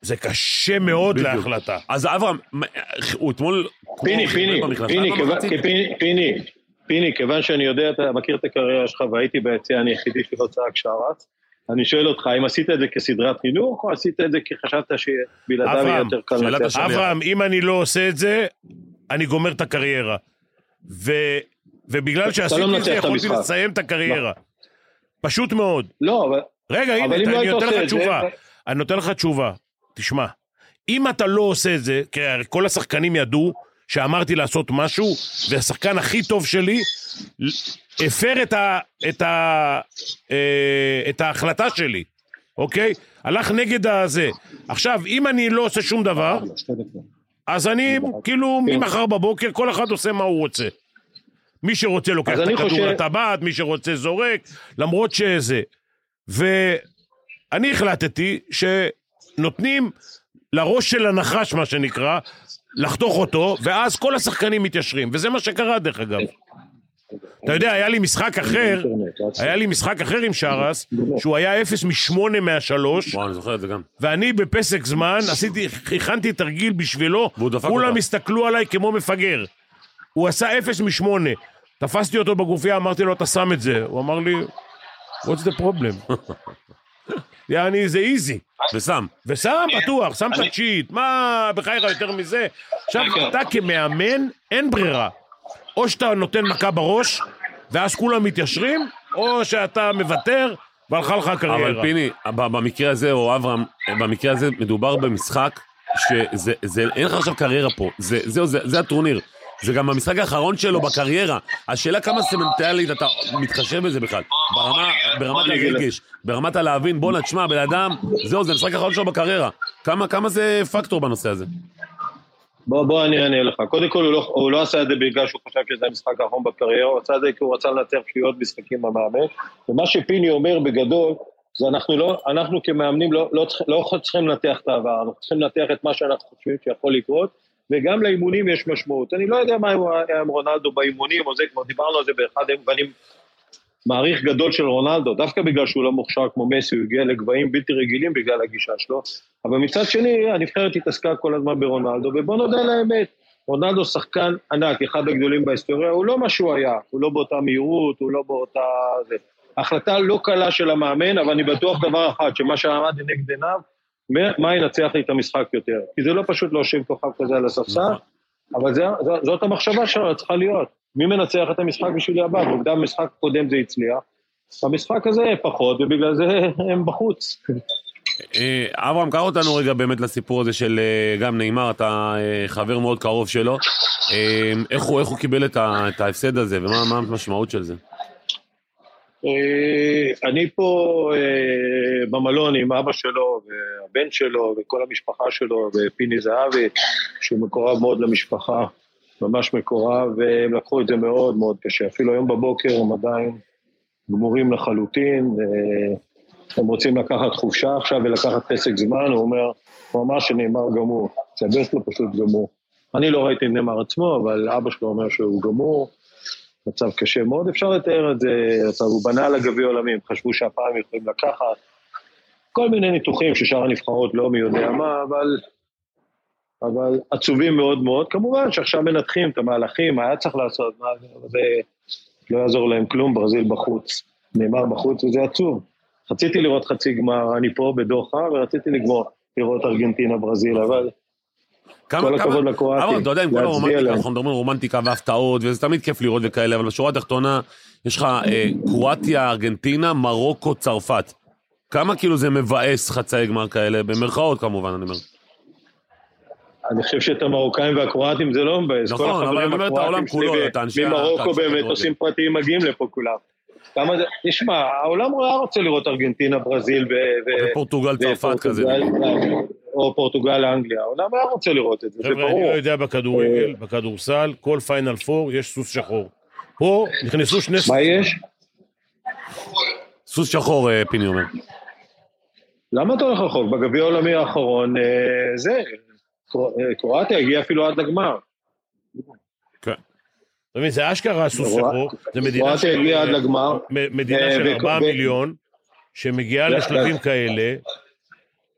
S3: זה קשה מאוד
S2: בדיוק.
S3: להחלטה.
S2: אז אברהם, מה- הוא אתמול...
S5: פיני,
S2: כמו-
S5: פיני,
S2: במכנסיים
S5: פיני, כיוון-
S2: במחצית.
S5: פיני, פיני, פיני, כיוון שאני יודע, אתה מכיר את הקריירה שלך והייתי ביציע, אני היחידי שלא צעק שרץ, אני שואל אותך, האם עשית את זה כסדרת חינוך, או עשית את זה כי חשבת שבלעדיו יהיה
S3: אברהם,
S5: יותר קל
S2: שאלת
S5: לצאת?
S2: השאלה. שליח.
S3: אברהם, אם אני לא עושה את זה, אני גומר את הקריירה. ו... ובגלל שעשיתי את
S5: לא מנצח
S3: זה,
S5: את
S3: יכולתי
S5: המשחק.
S3: לסיים את הקריירה. פשוט מאוד.
S5: לא, אבל...
S3: רגע, הנה,
S5: אבל אם לא
S3: אני
S5: היית
S3: נותן
S5: עושה
S3: לך
S5: את זה-
S3: תשובה. אני נותן לך תשובה. תשמע, אם אתה לא עושה את זה, כי הרי כל השחקנים ידעו שאמרתי לעשות משהו, והשחקן הכי טוב שלי ל- הפר את, ה, את, ה, אה, את ההחלטה שלי, אוקיי? הלך נגד הזה. עכשיו, אם אני לא עושה שום דבר, אז אני, כאילו,
S5: כן.
S3: ממחר בבוקר כל אחד עושה מה הוא רוצה. מי שרוצה לוקח
S5: אז
S3: את
S5: אני
S3: הכדור
S5: חושב-
S3: לטבעת, מי שרוצה זורק, למרות שזה. ואני החלטתי שנותנים לראש של הנחש, מה שנקרא, לחתוך אותו, ואז כל השחקנים מתיישרים, וזה מה שקרה דרך אגב. אתה יודע, היה לי משחק אחר, היה לי משחק אחר עם שרס, שהוא היה 0 מ-8 מהשלוש,
S2: וואו, אני זוכר את זה גם.
S3: ואני בפסק זמן עשיתי, הכנתי תרגיל בשבילו,
S2: והוא דפק
S3: כולם
S2: אותה.
S3: הסתכלו עליי כמו מפגר. הוא עשה אפס משמונה. תפסתי אותו בגופייה, אמרתי לו, אתה שם את זה. הוא אמר לי, what's the problem? יעני, זה איזי.
S2: וסם.
S3: ושם
S5: כן.
S3: בטוח, שם את הצ'יט, מה בחייך יותר מזה? עכשיו,
S5: כן.
S3: אתה כמאמן, אין ברירה. או שאתה נותן מכה בראש, ואז כולם מתיישרים, או שאתה מוותר, והלכה לך הקריירה.
S2: אבל פיני, ב- במקרה הזה, או אברהם, במקרה הזה מדובר במשחק שזה, זה, אין לך עכשיו קריירה פה, זה, זהו, זה, זה הטורניר. זה גם המשחק האחרון שלו בקריירה. השאלה כמה סמנטלית אתה מתחשב בזה בכלל. ברמה, ברמת
S5: אני אגיד לך.
S2: הרגש, ברמת הלהבין, בואנה, תשמע, בן אדם, זהו, זה המשחק האחרון שלו בקריירה. כמה, כמה זה פקטור בנושא הזה?
S5: בוא, בוא אני אענה לך. קודם כל, הוא לא, הוא לא עשה את זה בגלל שהוא חשב שזה המשחק האחרון בקריירה, הוא עשה את זה כי הוא רצה לנצח שטויות משחקים במאמן. ומה שפיני אומר בגדול, זה אנחנו לא, אנחנו כמאמנים לא, לא, צריכים, לא צריכים לנתח את העבר, אנחנו צריכים לנתח את מה שאנחנו חושבים שיכול לקרות, וגם לאימונים יש משמעות. אני לא יודע מה היה עם רונלדו באימונים או זה, כבר דיברנו על זה באחד, ואני מעריך גדול של רונלדו, דווקא בגלל שהוא לא מוכשר כמו מסי, הוא הגיע לגבהים בלתי רגילים בגלל הגישה שלו, אבל מצד שני, הנבחרת התעסקה כל הזמן ברונלדו, ובוא נודה על האמת, רונלדו שחקן ענק, אחד הגדולים בהיסטוריה, הוא לא מה שהוא היה, הוא לא באותה מהירות, הוא לא באותה... זה. החלטה לא קלה של המאמן, אבל אני בטוח דבר אחד, שמה שעמד לנגד עיניו, מה- מה ינצח לי את המשחק יותר, כי זה לא פשוט להושיב כוכב כזה על הספסל, אבל זה, זו, זאת המחשבה שלנו, צריכה להיות. מי מנצח את המשחק בשבילי הבא? עובדה, במשחק הקודם זה הצליח, המשחק הזה פחות, ובגלל זה הם בחוץ.
S2: אה, אברהם, קח אותנו רגע באמת לסיפור הזה של אה, גם נאמר, אתה אה, חבר מאוד קרוב שלו. אה, איך הוא, איך הוא קיבל את, ה, את ההפסד הזה, ומה מה המשמעות של זה?
S5: אה, אני פה אה, במלון עם אבא שלו והבן שלו וכל המשפחה שלו ופיני זהבי, שהוא מקורב מאוד למשפחה, ממש מקורב, והם לקחו את זה מאוד מאוד קשה. אפילו היום בבוקר הם עדיין גמורים לחלוטין, אה, הם רוצים לקחת חופשה עכשיו ולקחת פסק זמן, הוא אומר, הוא אמר שנאמר גמור, שהבן שלו פשוט גמור. אני לא ראיתי את נאמר עצמו, אבל אבא שלו אומר שהוא גמור. מצב קשה מאוד, אפשר לתאר את זה, מצב, הוא בנה על הגביע העולמי, הם חשבו שהפעם יכולים לקחת, כל מיני ניתוחים ששאר הנבחרות לא מי יודע מה, אבל, אבל עצובים מאוד מאוד, כמובן שעכשיו מנתחים את המהלכים, מה היה צריך לעשות, מה, זה לא יעזור להם כלום, ברזיל בחוץ, נאמר בחוץ וזה עצוב. רציתי לראות חצי גמר, אני פה בדוחה, ורציתי לגמור, לראות ארגנטינה ברזיל, אבל
S2: כמה,
S5: כל הכבוד לקרואטים,
S2: אברהם, אתה יודע, עם כל
S5: להצדיע
S2: הרומנטיקה,
S5: להם.
S2: אנחנו מדברים על רומנטיקה והפתעות, וזה תמיד כיף לראות וכאלה, אבל בשורה התחתונה, יש לך אה, קרואטיה, ארגנטינה, מרוקו, צרפת. כמה כאילו זה מבאס חצאי גמר כאלה, במרכאות כמובן, אני אומר.
S5: אני חושב שאת המרוקאים והקרואטים זה לא מבאס.
S2: נכון,
S5: כל
S2: אבל
S5: החברים
S2: אני אומר את העולם
S5: הקרואטים
S2: כולו,
S5: שלי
S2: את האנשי
S5: ממרוקו
S2: הקהל של
S5: באמת
S2: הכדורגל.
S5: עושים פרטיים מגיעים לפה כולם. כמה זה, תשמע, העולם היה רוצה לראות ארגנטינה, ברזיל ו... ו-
S2: ופורטוגל, צרפת כזה.
S5: ופורטוגל, או פורטוגל, אנגליה, העולם היה רוצה לראות את זה, זה
S3: חבר'ה, אני לא
S5: ברור. אה.
S3: יודע בכדורגל, בכדורסל, כל פיינל פור יש סוס שחור. פה נכנסו שני
S5: מה
S3: סוסים.
S5: יש?
S2: סוס שחור, אה, פיני אומר.
S5: למה אתה הולך רחוק? בגביע העולמי האחרון, אה, זה, קרו- אה, קרואטיה הגיעה אפילו עד לגמר.
S3: אתה מבין, זה אשכרה סוס
S5: קרואט-
S3: שחור, זה מדינה
S5: קרואטיה
S3: של-
S5: הגיעה עד לגמר.
S3: מ- מדינה
S5: אה,
S3: של
S5: ו-
S3: 4
S5: ו-
S3: מיליון, שמגיעה
S5: לא,
S3: לשלבים
S5: לא.
S3: כאלה.
S2: אה,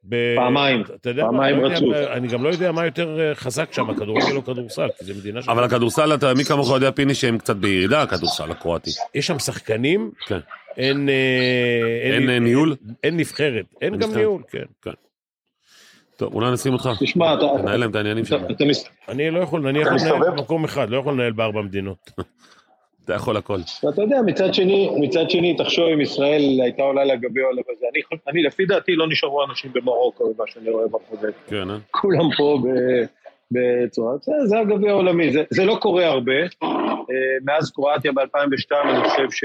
S3: ב-
S5: פעמיים.
S3: אתה יודע מה,
S5: פעמיים
S3: לא יודע,
S5: רצוף.
S3: אני גם לא יודע מה יותר אה, חזק שם, הכדורגל או כדורסל, כי זה מדינה של...
S2: אבל הכדורסל, אתה- מי כמוך יודע, פיני, שהם קצת בירידה, הכדורסל הקרואטי.
S3: יש שם שחקנים,
S2: כן.
S3: אין... אה,
S2: אין אה, ניהול?
S3: אין נבחרת, אין גם
S2: נבחרת.
S3: ניהול, כן.
S2: טוב, אולי נשים אותך.
S5: תשמע, אתה-
S2: תנהל להם את העניינים
S5: אתה
S2: שלהם.
S5: אתה מס-
S3: אני לא יכול, אני יכול
S5: אתה
S3: לנהל
S5: מסתובב?
S3: במקום אחד, לא יכול לנהל בארבע מדינות.
S2: אתה יכול הכל.
S5: ואתה יודע, מצד שני, מצד שני, תחשוב אם ישראל הייתה עולה לגבי העולם הזה. אני, חו- אני, לפי דעתי, לא נשארו אנשים במרוקו, ממה שאני רואה בחוזה.
S2: כן, אה?
S5: כולם פה ב, בצורה, זה, זה הגביע העולמי, זה, זה לא קורה הרבה, אה, מאז קרואטיה ב-2002 אני חושב ש...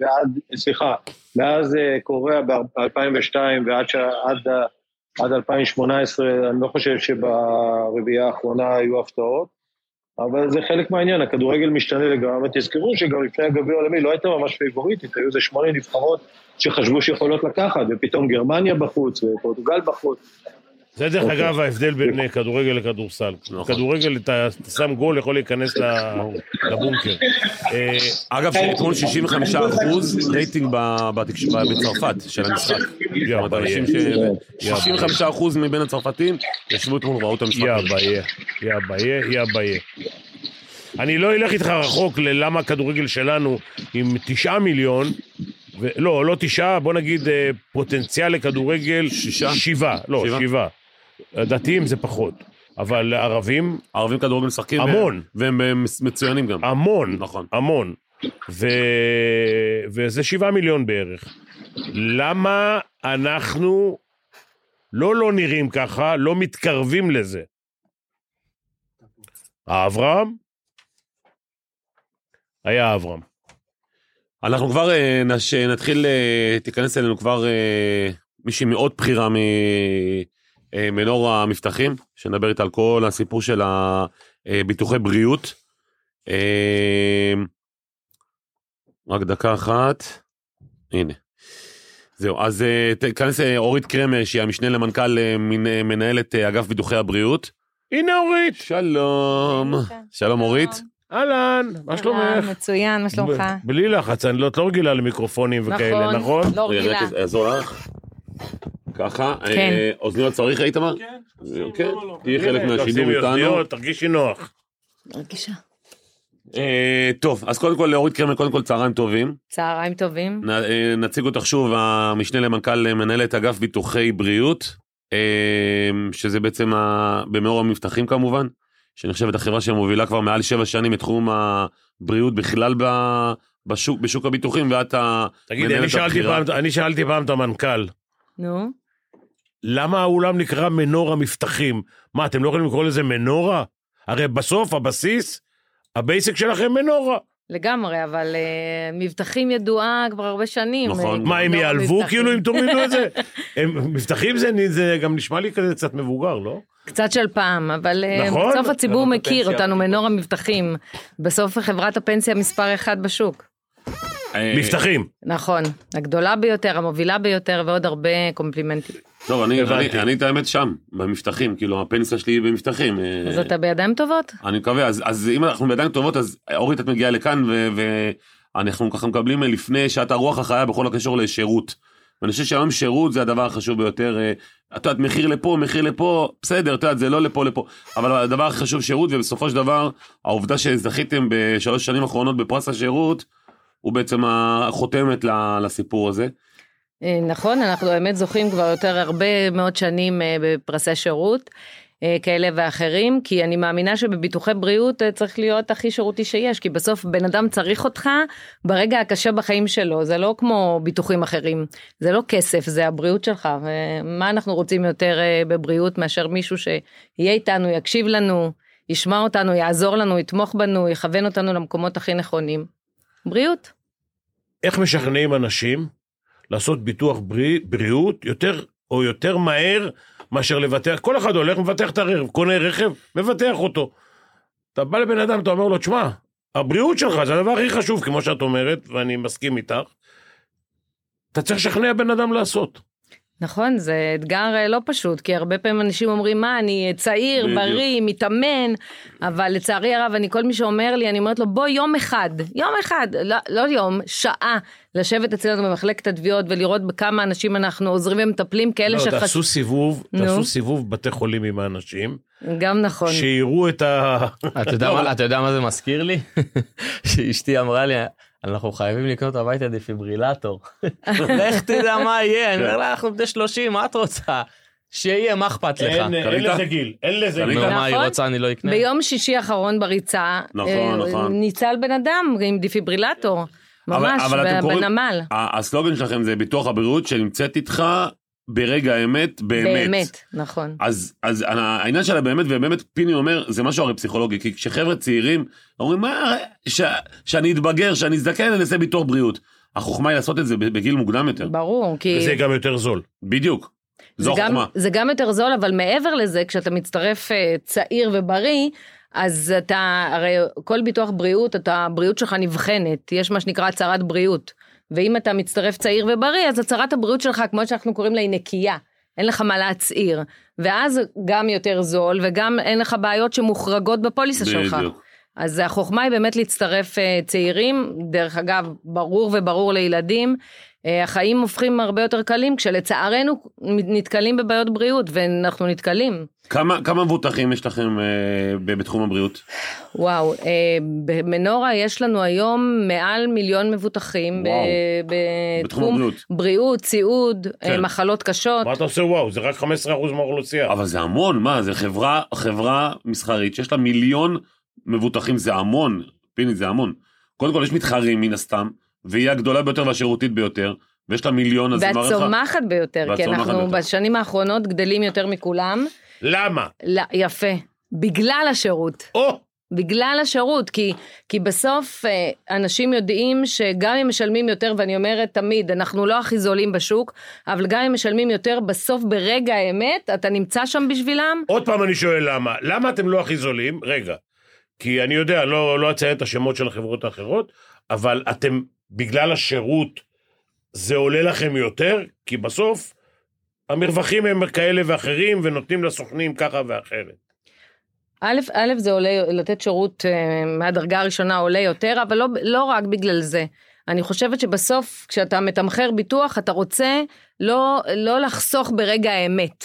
S5: ועד, סליחה, מאז אה, קוריאה ב-2002 ועד ש... עד, ה- עד 2018, אני לא חושב שברביעייה האחרונה היו הפתעות, אבל זה חלק מהעניין, הכדורגל משתנה לגמרי, תזכרו שגם לפני הגביע העולמי לא הייתה ממש פייבוריטית, היו איזה שמונה נבחרות שחשבו שיכולות לקחת, ופתאום גרמניה בחוץ, ופורטוגל בחוץ,
S3: זה דרך
S5: אוקיי. נכון.
S3: אגב ההבדל בין אה, כדורגל לכדורסל. כדורגל, אתה אתה שם גול, יכול להיכנס ל- לבונקר. אה,
S2: אגב, שאתמול 65 אחוז רייטינג ב- בתקש- ב- בצרפת של המשחק.
S3: יא
S2: זאת אומרת, אנשים ש...
S3: ביי.
S2: 65 אחוז מבין הצרפתים ישבו אתמול וראו את המשחק.
S3: יא ביה, יא ביה, יא ביה. אני לא אלך איתך רחוק ללמה הכדורגל שלנו עם תשעה מיליון, ו... לא, לא תשעה, בוא נגיד אה, פוטנציאל לכדורגל
S2: שישה?
S3: שבעה, לא,
S2: שבעה?
S3: שבעה. דתיים זה פחות, אבל ערבים
S2: הערבים כדורגל משחקים.
S3: המון.
S2: והם והם מצוינים גם.
S3: המון,
S2: נכון.
S3: המון. ו... וזה שבעה מיליון בערך. למה אנחנו לא לא נראים ככה, לא מתקרבים לזה? אברהם? היה אברהם.
S2: אנחנו כבר אה, נש... נתחיל, אה, תיכנס אלינו כבר אה, מישהי מאוד בכירה ממנור המבטחים, שנדבר איתה על כל הסיפור של הביטוחי בריאות. אה, רק דקה אחת, הנה. זהו, אז אה, תיכנס אה, אורית קרמר, שהיא המשנה למנכ"ל, אה, מנ- אה, מנהלת אה, אגף ביטוחי הבריאות.
S3: הנה אורית,
S2: שלום.
S6: שלום.
S2: שלום אורית.
S3: אהלן, מה שלומך?
S6: אהלן, כן. אה, מצוין, מה שלומך?
S3: ב- בלי לחץ, אני לא- את לא רגילה למיקרופונים וכאלה, נכון?
S6: לא
S2: רגע,
S6: רגילה.
S2: רק אעזור לך. ככה,
S6: כן.
S2: אה, אוזניות צריך איתמר? כן, תהיי חלק מהשידור
S3: תשימי
S2: איתנו.
S3: לא? אוזניות, תרגישי נוח.
S6: רגישה.
S2: אה, טוב, אז קודם כל לאורית קרמר, קודם כל צהריים טובים.
S6: צהריים טובים.
S2: נ- אה, נציג אותך שוב, המשנה למנכ"ל אה, מנהלת אגף ביטוחי בריאות, אה, שזה בעצם ה- במאור המבטחים כמובן, שנחשבת החברה שמובילה כבר מעל שבע שנים את תחום הבריאות בכלל ב- בשוק, בשוק הביטוחים, ואת ה...
S3: תגידי,
S2: מנהלת
S3: אני שאלתי
S2: הבחירה.
S3: פעם- אני שאלתי פעם את המנכ"ל,
S6: נו.
S3: למה האולם נקרא מנורה מבטחים? מה, אתם לא יכולים לקרוא לזה מנורה? הרי בסוף, הבסיס, הבייסיק שלכם מנורה.
S6: לגמרי, אבל אה, מבטחים ידועה כבר הרבה שנים.
S2: נכון.
S6: אה,
S3: מה, הם
S6: לא,
S3: ייעלבו
S6: מבטחים.
S3: כאילו אם תורידו את זה? הם, מבטחים זה, זה גם נשמע לי כזה קצת מבוגר, לא?
S6: קצת של פעם, אבל אה,
S3: נכון.
S6: בסוף הציבור
S3: חברת
S6: מכיר
S3: הפנסיה.
S6: אותנו מנור המבטחים. בסוף חברת הפנסיה מספר אחת בשוק.
S2: אה,
S3: מבטחים.
S6: נכון, הגדולה ביותר, המובילה ביותר ועוד הרבה קומפלימנטים.
S2: טוב, אני,
S3: הבנתי.
S2: אני, אני את האמת שם, במבטחים, כאילו הפנסיה שלי היא במבטחים.
S6: אז
S2: אה,
S6: אתה בידיים טובות?
S2: אני מקווה, אז, אז אם אנחנו בידיים טובות, אז אה, אורית את מגיעה לכאן ו, ואנחנו ככה מקבלים אה, לפני שעת הרוח החיה בכל הקשור לשירות. ואני חושב שהיום שירות זה הדבר החשוב ביותר. אה, את יודעת, מחיר לפה, מחיר לפה, בסדר, את יודעת, זה לא לפה לפה. אבל הדבר הכי חשוב שירות, ובסופו של דבר, העובדה שזכיתם בשלוש שנים האחרונות בפרס השירות, הוא בעצם החותמת ל- לסיפור הזה.
S6: אה, נכון, אנחנו באמת זוכים כבר יותר הרבה מאוד שנים אה, בפרסי שירות אה, כאלה ואחרים, כי אני מאמינה שבביטוחי בריאות אה, צריך להיות הכי שירותי שיש, כי בסוף בן אדם צריך אותך ברגע הקשה בחיים שלו, זה לא כמו ביטוחים אחרים, זה לא כסף, זה הבריאות שלך, ומה אנחנו רוצים יותר אה, בבריאות מאשר מישהו שיהיה איתנו, יקשיב לנו, ישמע אותנו, יעזור לנו, יתמוך בנו, יכוון אותנו למקומות הכי נכונים. בריאות.
S3: איך משכנעים אנשים לעשות ביטוח בריא, בריאות יותר או יותר מהר מאשר לבטח? כל אחד הולך, מבטח את הרכב, קונה רכב, מבטח אותו. אתה בא לבן אדם, אתה אומר לו, תשמע, הבריאות שלך זה הדבר הכי חשוב, כמו שאת אומרת, ואני מסכים איתך. אתה צריך לשכנע בן אדם לעשות.
S6: נכון, זה אתגר אה, לא פשוט, כי הרבה פעמים אנשים אומרים, מה, אני אה, צעיר,
S2: בדיוק.
S6: בריא, מתאמן, אבל לצערי הרב, אני, כל מי שאומר לי, אני אומרת לו, בוא יום אחד, יום אחד, לא, לא יום, שעה, לשבת אצלנו במחלקת התביעות ולראות בכמה אנשים אנחנו עוזרים ומטפלים, כאלה
S3: לא,
S6: שחש...
S3: תעשו סיבוב,
S6: נו.
S3: תעשו סיבוב בתי חולים עם האנשים,
S6: גם נכון.
S3: שיראו את ה...
S4: אתה יודע מה- אתה יודע מה זה מזכיר לי? שאשתי אמרה לי, אנחנו חייבים לקנות הביתה דפיברילטור. לך תדע מה יהיה, אני אומר לה, אנחנו בני 30, מה את רוצה? שיהיה, מה אכפת לך?
S3: אין אין
S2: קנית?
S3: לזה גיל, אין לזה
S2: קנית?
S3: גיל.
S4: נו, מה היא
S6: נכון.
S4: רוצה, אני לא אקנה.
S6: ביום שישי האחרון בריצה,
S2: נכון,
S6: אה,
S2: נכון.
S6: ניצל בן אדם עם דפיברילטור, ממש,
S2: אבל אתם
S6: ב-
S2: קוראים-
S6: בנמל,
S2: ה- הסלוגן שלכם זה ביטוח הבריאות שנמצאת איתך ברגע האמת, באמת.
S6: באמת, נכון.
S2: אז, אז העניין של הבאמת ובאמת פיני אומר זה משהו הרי פסיכולוגי כי כשחבר'ה צעירים אומרים מה ש, שאני אתבגר שאני אזדקן אני אעשה ביטוח בריאות. החוכמה היא לעשות את זה בגיל מוקדם יותר
S6: ברור, כי...
S3: וזה גם יותר זול.
S2: בדיוק. זו
S6: זה גם,
S2: החוכמה.
S6: זה גם יותר זול, אבל מעבר לזה, כשאתה מצטרף אה, צעיר ובריא, אז אתה, הרי כל ביטוח בריאות, אתה, הבריאות שלך נבחנת, יש מה שנקרא הצהרת בריאות. ואם אתה מצטרף צעיר ובריא, אז הצהרת הבריאות שלך, כמו שאנחנו קוראים לה, היא נקייה. אין לך מה להצהיר. ואז גם יותר זול, וגם אין לך בעיות שמוחרגות בפוליסה שלך.
S2: בדיוק.
S6: אז החוכמה היא באמת להצטרף אה, צעירים, דרך אגב, ברור וברור לילדים. אה, החיים הופכים הרבה יותר קלים כשלצערנו נתקלים בבעיות בריאות, ואנחנו נתקלים.
S2: כמה כמה מבוטחים יש לכם אה, ב- בתחום הבריאות?
S6: וואו, אה, במנורה יש לנו היום מעל מיליון מבוטחים ב-
S2: וואו. בתחום
S6: בתחום
S2: הבריאות.
S6: בריאות, סיעוד, אה,
S2: כן.
S6: מחלות קשות.
S3: מה אתה עושה וואו, זה רק 15% מהאוכלוסייה.
S2: אבל זה המון מה זה חברה חברה מסחרית שיש לה מיליון מבוטחים זה המון פיני זה המון. קודם כל יש מתחרים מן הסתם והיא הגדולה ביותר והשירותית ביותר ויש לה מיליון אז מה לך?
S6: והצומחת ביותר, כי
S2: והצומחת
S6: אנחנו
S2: ביותר.
S6: בשנים האחרונות גדלים יותר מכולם.
S3: למה?
S6: לא, יפה, בגלל השירות.
S3: או,
S6: בגלל השירות, כי, כי בסוף אה, אנשים יודעים שגם אם משלמים יותר, ואני אומרת תמיד, אנחנו לא הכי זולים בשוק, אבל גם אם משלמים יותר, בסוף ברגע האמת, אתה נמצא שם בשבילם.
S3: עוד פעם אני שואל למה. למה אתם לא הכי זולים? רגע. כי אני יודע, לא, לא אציין את השמות של החברות האחרות, אבל אתם, בגלל השירות, זה עולה לכם יותר, כי בסוף המרווחים הם כאלה ואחרים, ונותנים לסוכנים ככה ואחרת.
S6: א', א', זה עולה, לתת שירות אה, מהדרגה הראשונה עולה יותר, אבל לא, לא רק בגלל זה. אני חושבת שבסוף, כשאתה מתמחר ביטוח, אתה רוצה לא, לא לחסוך ברגע האמת.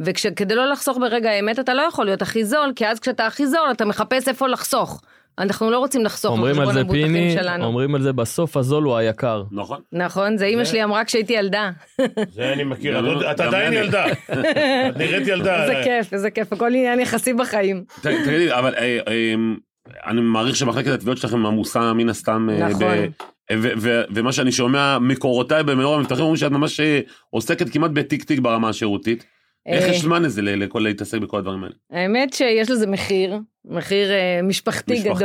S6: וכדי לא לחסוך ברגע האמת, אתה לא יכול להיות הכי זול, כי אז כשאתה הכי זול, אתה מחפש איפה לחסוך. אנחנו לא רוצים לחסוך
S4: אומרים על
S6: על
S4: זה
S6: המבוטחים
S4: פיני,
S6: שלנו.
S4: אומרים על זה בסוף הזול הוא היקר.
S2: נכון.
S6: נכון, זה אימא שלי אמרה כשהייתי ילדה.
S3: זה אני מכיר,
S2: גם-
S3: את עוד- את
S2: גם
S3: עדיין
S2: אני.
S3: ילדה. את נראית ילדה.
S6: איזה כיף, איזה כיף, הכל עניין יחסי בחיים.
S2: ת- תגידי, אבל אה, אה, אני מעריך שמחלקת התביעות שלכם עמוסה מן הסתם. אה,
S6: נכון.
S2: ב- ו- ו- ומה שאני שומע מקורותיי במאור המבטחים אומרים שאת ממש אה, עוסקת כמעט בתיק תיק ברמה השירותית. איך
S6: אה,
S2: יש זמן לזה ל- לכל להתעסק בכל הדברים האלה?
S6: האמת שיש לזה מחיר, מחיר אה, משפחתי,
S2: משפחתי.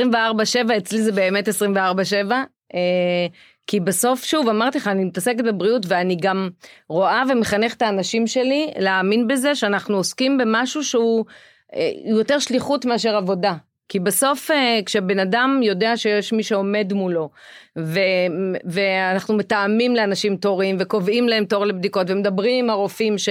S6: משפחתי. גדול. 24-7, אצלי זה באמת 24-7. אה, כי בסוף, שוב, אמרתי לך, אני מתעסקת בבריאות ואני גם רואה ומחנכת את האנשים שלי להאמין בזה שאנחנו עוסקים במשהו שהוא אה, יותר שליחות מאשר עבודה. כי בסוף אה, כשבן אדם יודע שיש מי שעומד מולו, ו, ואנחנו מתאמים לאנשים תורים וקובעים להם תור לבדיקות ומדברים עם הרופאים ש,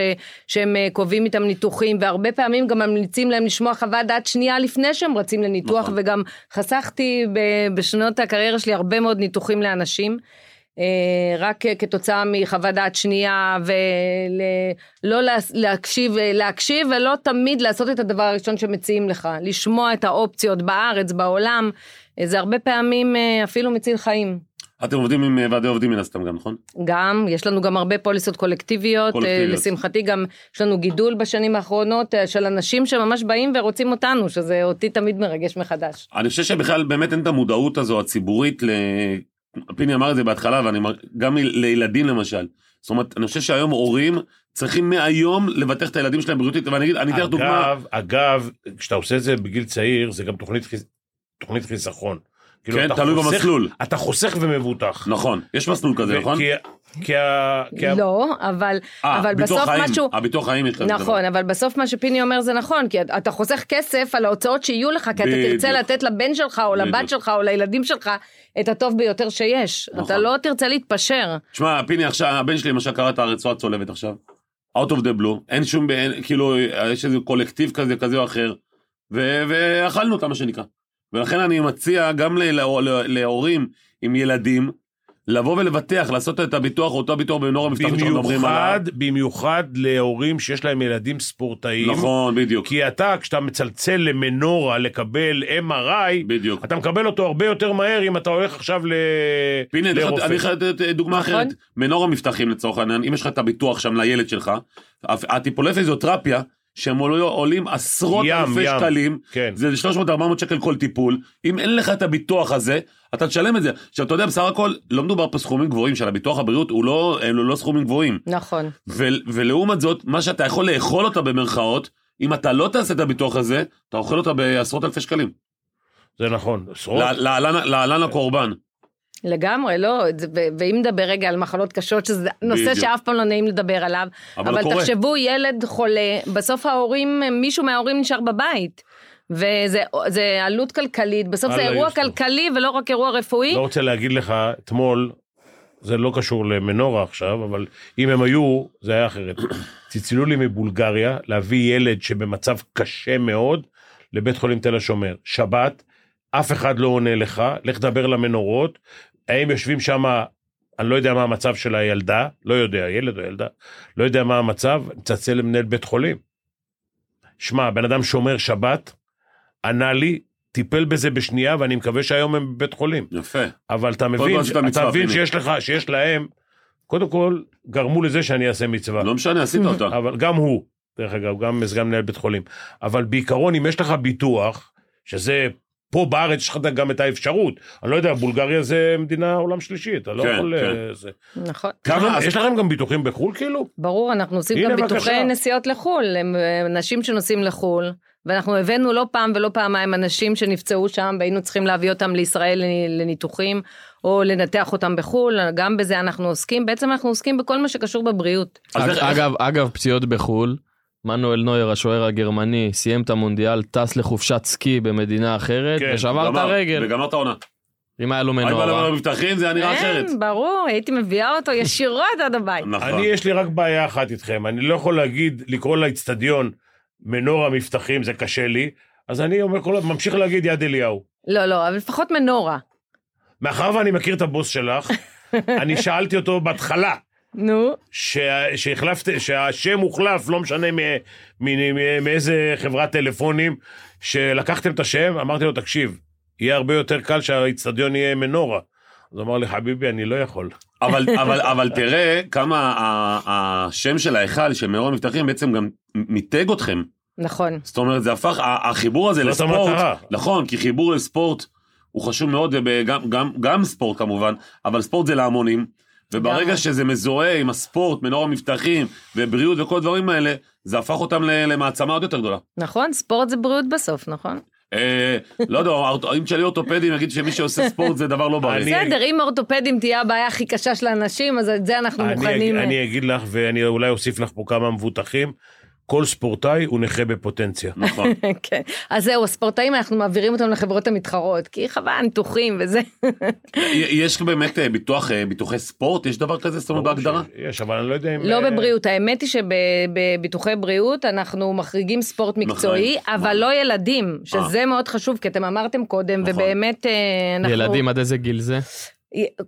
S6: שהם אה, קובעים איתם ניתוחים והרבה פעמים גם ממליצים להם לשמוע חוות דעת שנייה לפני שהם רצים לניתוח
S2: נכון.
S6: וגם חסכתי ב- בשנות הקריירה שלי הרבה מאוד ניתוחים לאנשים. אה, רק אה, כתוצאה מחוות דעת שנייה ולא להקשיב, אה, להקשיב ולא תמיד לעשות את הדבר הראשון שמציעים לך, לשמוע את האופציות בארץ, בעולם, אה, זה הרבה פעמים אה, אפילו מציל חיים.
S2: אתם עובדים עם אה, ועדי עובדים מן הסתם גם, נכון?
S6: גם, יש לנו גם הרבה פוליסות קולקטיביות,
S2: קולקטיביות.
S6: קולקטיביות. לשמחתי גם יש לנו גידול בשנים האחרונות אה, של אנשים שממש באים ורוצים אותנו, שזה אותי תמיד מרגש מחדש.
S2: אני חושב שבכלל באמת אין את המודעות הזו הציבורית, ל... פיני אמר את זה בהתחלה, ואני מר- גם ל- לילדים למשל. זאת אומרת, אני חושב שהיום הורים צריכים מהיום לבטח את הילדים שלהם בריאותית, ואני אגיד, אני אתן לך דוגמה,
S3: אגב, אגב, כשאתה עושה את זה בגיל צעיר, זה גם תוכנית חיס- תוכנית חיסכון. כאילו,
S2: כן,
S3: אתה
S2: תלוי
S3: חוסך-
S2: במסלול.
S3: אתה חוסך ומבוטח.
S2: נכון, יש מסלול כזה, נכון?
S3: כי- כי ה... כי ה-
S6: לא, אבל,
S2: אה,
S6: אבל
S2: ביטוח
S6: בסוף
S2: חיים,
S6: משהו...
S2: הביטוח חיים יש כזה
S6: נכון, אבל בסוף מה שפיני אומר זה נכון, כי אתה חוסך כסף על ההוצאות שיהיו לך, כי אתה
S2: בדיוק.
S6: תרצה לתת לבן שלך או
S2: בדיוק.
S6: לבת שלך או לילדים שלך את הטוב ביותר שיש. אתה
S2: נכון.
S6: לא תרצה להתפשר.
S2: תשמע, פיני עכשיו, הבן שלי למשל קרא את הרצועה הצולבת עכשיו. Out of the blue, אין שום, אין, כאילו, יש איזה קולקטיב כזה, כזה או אחר. ו- ואכלנו אותה, מה שנקרא. ולכן אני מציע גם ל- לה- לה- להורים עם ילדים, לבוא ולבטח, לעשות את הביטוח, אותו ביטוח בנוער המבטח שאנחנו לא, מדברים
S3: במיוחד,
S2: עליו.
S3: במיוחד להורים שיש להם ילדים ספורטאים.
S2: נכון, בדיוק.
S3: כי אתה, כשאתה מצלצל למנורה לקבל MRI,
S2: בדיוק.
S3: אתה מקבל אותו הרבה יותר מהר אם אתה הולך עכשיו ל...
S2: הנה, אני חייב-
S3: לרופא.
S2: אני חייב לתת אה, דוגמה
S6: נכון.
S2: אחרת. מנורה מבטחים לצורך העניין, אם יש לך את הביטוח שם לילד שלך, הפ- הטיפולי פיזיותרפיה, שהם עולו- עולים עשרות
S3: ים,
S2: אלפי
S3: ים.
S2: שקלים,
S3: כן.
S2: זה 300-400 שקל כל טיפול, אם אין לך את הביטוח הזה, אתה תשלם את זה. עכשיו, אתה יודע, בסך הכל, לא מדובר פה סכומים גבוהים של הביטוח הבריאות, הוא לא, אלו לא סכומים גבוהים.
S6: נכון.
S2: ו- ולעומת זאת, מה שאתה יכול לאכול אותה במרכאות, אם אתה לא תעשה את הביטוח הזה, אתה אוכל אותה בעשרות אלפי שקלים.
S3: זה נכון. עשרות.
S2: לה- להלן להלן הקורבן.
S6: לגמרי, לא, זה- ו- ואם נדבר רגע על מחלות קשות, שזה נושא
S2: בדיוק.
S6: שאף פעם לא נעים לדבר עליו,
S2: אבל
S6: אבל
S2: קורה.
S6: תחשבו, ילד חולה, בסוף ההורים, מישהו מההורים נשאר בבית. וזה זה עלות כלכלית, בסוף זה
S3: אללה
S6: אירוע
S3: יוסטור.
S6: כלכלי ולא רק אירוע רפואי.
S3: לא רוצה להגיד לך, אתמול, זה לא קשור למנורה עכשיו, אבל אם הם היו, זה היה אחרת. צלצלו לי מבולגריה להביא ילד שבמצב קשה מאוד לבית חולים תל השומר. שבת, אף אחד לא עונה לך, לך דבר למנורות, הם יושבים שם, אני לא יודע מה המצב של הילדה, לא יודע, ילד או ילדה, לא יודע מה המצב, מצלצל למנהל בית חולים. שמע, בן אדם שומר שבת, ענה לי, טיפל בזה בשנייה, ואני מקווה שהיום הם בבית חולים.
S2: יפה.
S3: אבל אתה מבין,
S2: עשית מצווה,
S3: אתה מבין
S2: פיני.
S3: שיש לך, שיש להם, קודם כל, גרמו לזה שאני אעשה מצווה.
S2: לא משנה, עשית אותה.
S3: אבל גם הוא, דרך אגב, גם סגן מנהל בית חולים. אבל בעיקרון, אם יש לך ביטוח, שזה, פה בארץ יש לך גם את האפשרות. אני לא יודע, בולגריה זה מדינה עולם שלישי, אתה לא
S2: כן,
S3: יכול...
S2: כן.
S3: אה, זה.
S6: נכון.
S2: כמה, אז
S3: יש לכם גם ביטוחים בחו"ל, כאילו?
S6: ברור, אנחנו עושים
S3: הנה,
S6: גם
S3: בבקשה.
S6: ביטוחי נסיעות לחו"ל, הם אה, אנשים שנוסעים לחו"ל, ואנחנו הבאנו לא פעם ולא פעמיים אנשים שנפצעו שם, והיינו צריכים להביא אותם לישראל לניתוחים, או לנתח אותם בחו"ל, גם בזה אנחנו עוסקים, בעצם אנחנו עוסקים בכל מה שקשור בבריאות.
S2: אז איך-
S4: אגב, אגב, פציעות בחו"ל, מנואל נויר, השוער הגרמני, סיים את המונדיאל, טס לחופשת סקי במדינה אחרת,
S3: כן,
S4: ושבר את
S2: גמר,
S4: הרגל.
S2: וגמר את העונה.
S4: אם היה לו
S2: היית בא
S4: מנורה.
S2: לבוא למבטחים זה היה נראה אחרת.
S6: כן, ברור, הייתי מביאה אותו ישירות עד הבית.
S2: נכון.
S3: אני, יש לי רק בעיה אחת איתכם, אני לא יכול להגיד, לקרוא לאיצטדיון מנורה מבטחים, זה קשה לי, אז אני אומר כל הזמן, ממשיך להגיד יד אליהו.
S6: לא, לא, אבל לפחות מנורה.
S3: מאחר ואני מכיר את הבוס שלך, אני שאלתי אותו בהתחלה,
S6: נו,
S3: שה- שהחלפת, שהשם הוחלף, לא משנה מ- מ- מ- מאיזה חברת טלפונים, שלקחתם את השם, אמרתי לו, תקשיב, יהיה הרבה יותר קל שהאיצטדיון יהיה מנורה. אז הוא אמר לי, חביבי, אני לא יכול.
S2: אבל, אבל, אבל תראה כמה ה- ה- השם של ההיכל, של מאור המבטחים, בעצם גם מיתג אתכם.
S6: נכון.
S2: זאת אומרת, זה הפך, ה- החיבור הזה
S3: זאת
S2: לספורט,
S3: המטרה.
S2: נכון, כי חיבור לספורט הוא חשוב מאוד, וגם גם, גם ספורט כמובן, אבל ספורט זה להמונים, וברגע
S6: גם.
S2: שזה מזוהה עם הספורט, מנור המבטחים, ובריאות וכל הדברים האלה, זה הפך אותם ל- למעצמה עוד יותר גדולה.
S6: נכון, ספורט זה בריאות בסוף, נכון?
S2: אה, לא יודע, האורט- אם תשאלי אורתופדים, יגיד שמי שעושה ספורט זה דבר לא בריא.
S3: אני-
S6: בסדר, אם אורתופדים תהיה הבעיה הכי קשה של האנשים, אז את זה אנחנו
S3: אני,
S6: מוכנים. אה,
S3: אני אגיד לך, ואני אולי אוסיף לך פה כמה מבוטחים, כל ספורטאי הוא נכה בפוטנציה.
S2: נכון.
S6: כן. אז זהו, הספורטאים, אנחנו מעבירים אותם לחברות המתחרות, כי חבל, ניתוחים וזה.
S2: יש באמת אה, ביטוח, אה, ביטוחי ספורט? יש דבר כזה, זאת אומרת, לא בהגדרה?
S3: יש, אבל אני לא יודע אם...
S6: לא
S3: אה,
S2: כן.
S6: בבריאות, האמת היא שבביטוחי בריאות אנחנו מחריגים ספורט
S2: נכון.
S6: מקצועי,
S2: מחריג.
S6: אבל לא ילדים, שזה מאוד חשוב, כי אתם אמרתם קודם,
S2: אה. נכון.
S6: ובאמת אה, אנחנו...
S4: ילדים עד איזה גיל זה?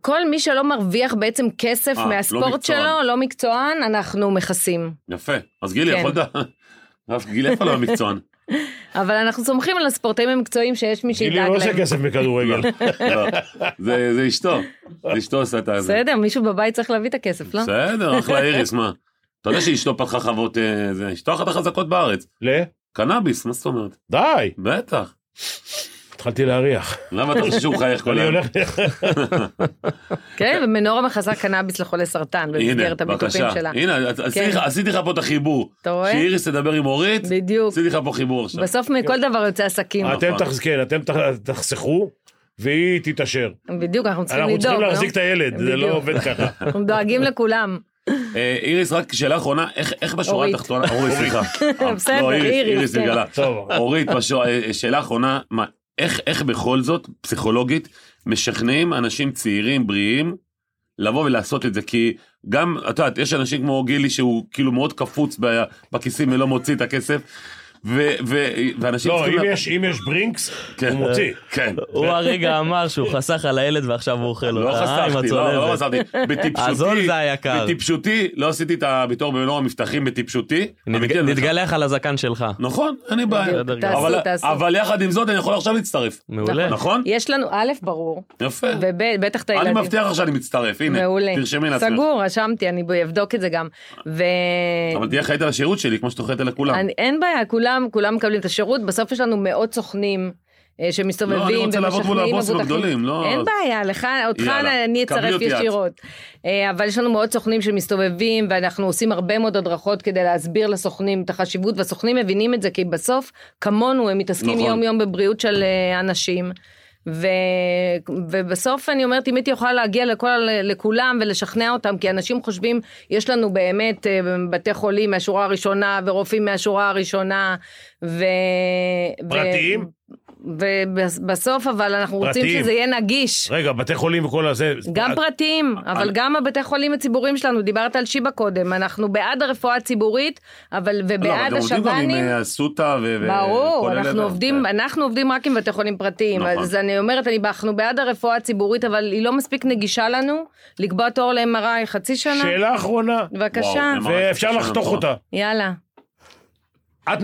S6: כל מי שלא מרוויח בעצם כסף
S2: אה, לא
S6: מהספורט
S2: מקצוען.
S6: שלו, לא מקצוען, אנחנו מכסים.
S2: יפה. אז גילי,
S6: כן.
S2: יכולת... אז גילי, איפה לא המקצוען?
S6: אבל אנחנו סומכים על הספורטאים המקצועיים שיש מי
S3: גילי
S6: שידאג
S3: לא
S6: להם.
S3: עושה כסף מכדורגל.
S2: לא. זה זה אשתו. זה אשתו עושה את זה.
S6: בסדר, מישהו בבית צריך להביא את הכסף, לא?
S2: בסדר, אחלה איריס, מה? אתה יודע שאשתו פתחה חוות... אה, זה- אשתו אחת החזקות בארץ.
S3: ל?
S2: קנאביס, מה זאת אומרת?
S3: די,
S2: בטח.
S3: התחלתי להריח.
S2: למה אתה חושב שהוא מחייך כל
S3: אני
S2: היום?
S3: הולך...
S6: כן, ומנורה מכסה קנאביס לחולי סרטן
S2: הנה,
S6: במסגרת הביטוחים
S2: בבקשה.
S6: שלה.
S2: הנה, את- עשיתי
S6: כן.
S2: לך- עשיתי לך פה את החיבור.
S6: אתה רואה?
S2: שאיריס תדבר עם אורית,
S6: בדיוק.
S2: עשיתי לך פה חיבור עכשיו.
S6: בסוף מכל דבר יוצא עסקים.
S2: אה,
S3: אתם תחז- כן, אתם תח- תחסכו, והיא תתעשר.
S6: בדיוק, אנחנו צריכים
S3: אנחנו
S6: לדאוג,
S3: צריכים
S6: לא?
S3: להחזיק את הילד, זה לא
S6: בדיוק.
S3: עובד ככה.
S6: אנחנו דואגים לכולם.
S2: אה, איריס, רק שאלה אחרונה, איך איך בשורה
S6: אורית.
S2: התחתונה... אורית, סליחה.
S6: בסדר,
S2: לא,
S6: איריס,
S2: איריס
S6: כן.
S2: נגלה.
S3: טוב, לא,
S2: אורית, בשו- אה, אה, שאלה אחרונה, מה, איך, איך בכל זאת, פסיכולוגית, משכנעים אנשים צעירים, בריאים, לבוא ולעשות את זה? כי גם, את יודעת, יש אנשים כמו גילי שהוא כאילו מאוד קפוץ ב- בכיסים ולא מוציא את הכסף. ו- ו- ואנשים
S3: לא,
S2: צריכים...
S3: אם
S2: לה-
S3: יש- אם יש ברינקס,
S2: כן.
S3: הוא מוציא. לא.
S2: כן.
S7: הוא הרגע אמר שהוא חסך על הילד ועכשיו הוא אוכל
S2: לא
S7: אותה אה, עם
S2: חסכתי, לא, לא
S7: הצולבת.
S2: חסכתי.
S7: הזול
S2: בטיפשותי,
S7: זה היה יקר.
S2: בטיפשותי, לא עשיתי את הבתור במלוא המבטחים בטיפשותי. כן, לא אמיתי,
S7: נתג-
S2: אני אומר לך.
S7: נתגלח על הזקן שלך.
S2: נכון, אין לי בעיה.
S7: בדיוק,
S6: תעשו,
S2: אבל-
S6: תעשו.
S2: אבל יחד עם זאת, אני יכול עכשיו להצטרף.
S7: מעולה.
S2: נכון?
S6: יש לנו, א', ברור,
S2: יפה.
S6: ובטח את
S2: אני
S6: הילדים.
S2: מבטיח לך שאני מצטרף, הנה.
S6: מעולה.
S2: תרשמי לעצמך.
S6: סגור, רשמתי, אני אבדוק את זה גם. ו...
S2: אבל תהיה חיית על השירות שלי, כמו שאתה חיית על הכולם.
S6: אני, אין בעיה, כולם, כולם מקבלים את השירות, בסוף יש לנו מאות סוכנים. אה, שמסתובבים
S2: לא, אני רוצה לעבוד מול
S6: ומשכנעים
S2: הבוסים
S6: מבוטחים.
S2: הגדולים, לא-
S6: אין בעיה, לך, אותך
S2: יאללה,
S6: אני
S2: קבלי
S6: אצרף
S2: אותי את.
S6: ישירות. אה, אבל יש לנו מאות סוכנים שמסתובבים, ואנחנו עושים הרבה מאוד הדרכות כדי להסביר לסוכנים את החשיבות, והסוכנים מבינים את זה, כי בסוף, כמונו, הם מתעסקים
S2: נכון.
S6: יום-יום בבריאות של אה, אנשים. ו... ובסוף אני אומרת, אם הייתי יכולה להגיע לכל, לכולם ולשכנע אותם, כי אנשים חושבים, יש לנו באמת אה, בתי חולים מהשורה הראשונה ורופאים מהשורה הראשונה. ו...
S3: פרטיים?
S6: ובסוף, אבל אנחנו רוצים
S3: פרטיים.
S6: שזה יהיה נגיש.
S3: רגע, בתי חולים וכל הזה.
S6: גם פרטיים, אבל גם הבתי חולים הציבוריים שלנו, דיברת על שיבא קודם, אנחנו בעד הרפואה הציבורית, אבל
S2: לא, אבל
S6: ובעד
S2: גם עובדים גם עם
S6: השב"נים.
S2: אה, אסותא ו... ו-
S6: ברור,
S2: כל אלה,
S6: אנחנו
S2: ו-
S3: כן.
S6: עובדים, אנחנו עובדים רק עם בתי חולים פרטיים,
S2: נכון.
S6: אז אני אומרת, אני- אנחנו בעד הרפואה הציבורית, אבל היא לא מספיק נגישה לנו, לקבוע תור ל-MRI חצי שנה,
S3: שאלה אחרונה,
S6: בבקשה,
S2: וואו,
S3: ואפשר
S2: שאלה
S3: לחתוך
S2: אחרונה.
S3: אותה.
S6: יאללה,
S3: את,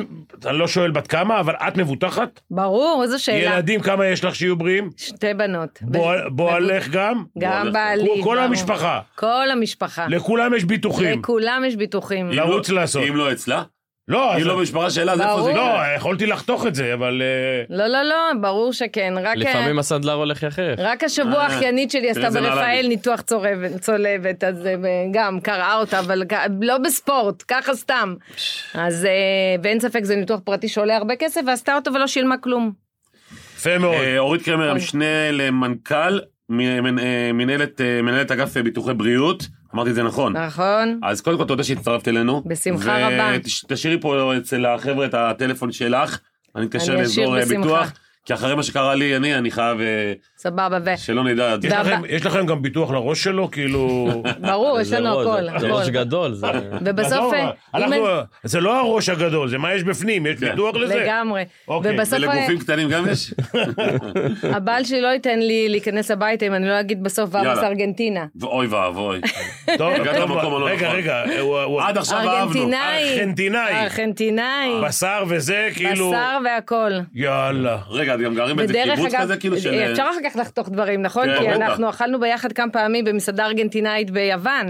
S3: אני לא שואל בת כמה, אבל את מבוטחת?
S6: ברור, איזו שאלה,
S3: ילדים כמה יש לך שיהיו בריאים?
S6: שתי בנות,
S3: בועל- בועלך גם?
S6: גם בעלי,
S3: כל
S6: ברור.
S3: המשפחה.
S6: כל המשפחה,
S3: לכולם יש ביטוחים.
S6: לכולם יש ביטוחים,
S2: אם
S3: לרוץ
S2: לא-
S3: לעשות.
S2: אם לא אצלה?
S3: לא, אז-
S2: אם לא במשפחה שלה, אז איפה זה? כן.
S6: ברור.
S2: יקרה?
S3: לא, יכולתי לחתוך את זה, אבל... אה,
S6: לא, לא, לא, ברור שכן, רק... אה,
S4: לפעמים הסנדלר הולך יחף.
S6: רק השבוע
S2: אה,
S6: האחיינית שלי עשתה
S2: איזה נעלה
S6: ברפאל
S2: לי.
S6: ניתוח צורבת- צולבת, אז אה, גם קרעה אותה, אבל כ- לא בספורט, ככה סתם. אז אה, ואין ספק זה ניתוח פרטי שעולה הרבה כסף, ועשתה אותו ולא שילמה כלום.
S3: יפה מאוד.
S2: אה, אורית קרמר, המשנה למנכ"ל, מ- מנ- אה, מנהלת אה, מנהלת אגף אה, ביטוחי בריאות, אמרתי את זה נכון.
S6: נכון?
S2: אז קודם כל תודה שהצטרפת אלינו.
S6: בשמחה רבה.
S2: ותשאירי פה אצל החבר'ה את הטלפון שלך, אני אתקשר
S6: אני אשאיר
S2: לאזור אה,
S6: בשמחה.
S2: ביטוח, כי אחרי מה שקרה לי, אני אני חייב אה,
S6: סבבה, ו-
S2: שלא נדע.
S3: יש
S6: והבא-
S3: לכם- יש לכם גם ביטוח לראש שלו? כאילו...
S6: ברור, יש
S7: זה
S6: לנו
S7: ראש,
S6: הכל,
S7: זה ראש
S6: הכל.
S7: גדול. זה-
S6: ובסוף,
S3: עזוב,
S6: אה, אם
S3: אנחנו-
S6: אין-
S3: זה לא הראש הגדול, זה מה יש בפנים, יש
S2: כן.
S3: ביטוח לזה.
S6: לגמרי.
S3: אוקיי,
S6: ובסוף אה,
S2: ולגופים קטנים גם יש?
S6: הבעל שלי לא ייתן לי להיכנס הביתה אם אני לא אגיד בסוף ואבס
S2: יאללה.
S6: ארגנטינה.
S2: ואוי ואבוי.
S3: טוב,
S2: הגעת
S3: טוב,
S2: למקום הלא
S3: רגע,
S2: נכון.
S3: רגע, אה, הוא- הוא-
S2: עד עכשיו אהבנו.
S6: ארגנטינאי.
S3: ארגנטינאי.
S6: ארגנטינאי.
S3: בשר וזה, כאילו...
S6: בשר והכל.
S3: יאללה.
S2: רגע, את גם גרים באיזה
S6: ודרך
S2: קיבוץ
S6: אגב,
S2: כזה, כאילו של...
S6: אפשר אחר כך לחתוך דברים, נכון?
S2: כן,
S6: כי
S2: בטח.
S6: אנחנו אכלנו ביחד כמה פעמים במסעדה ארגנטינאית ביוון.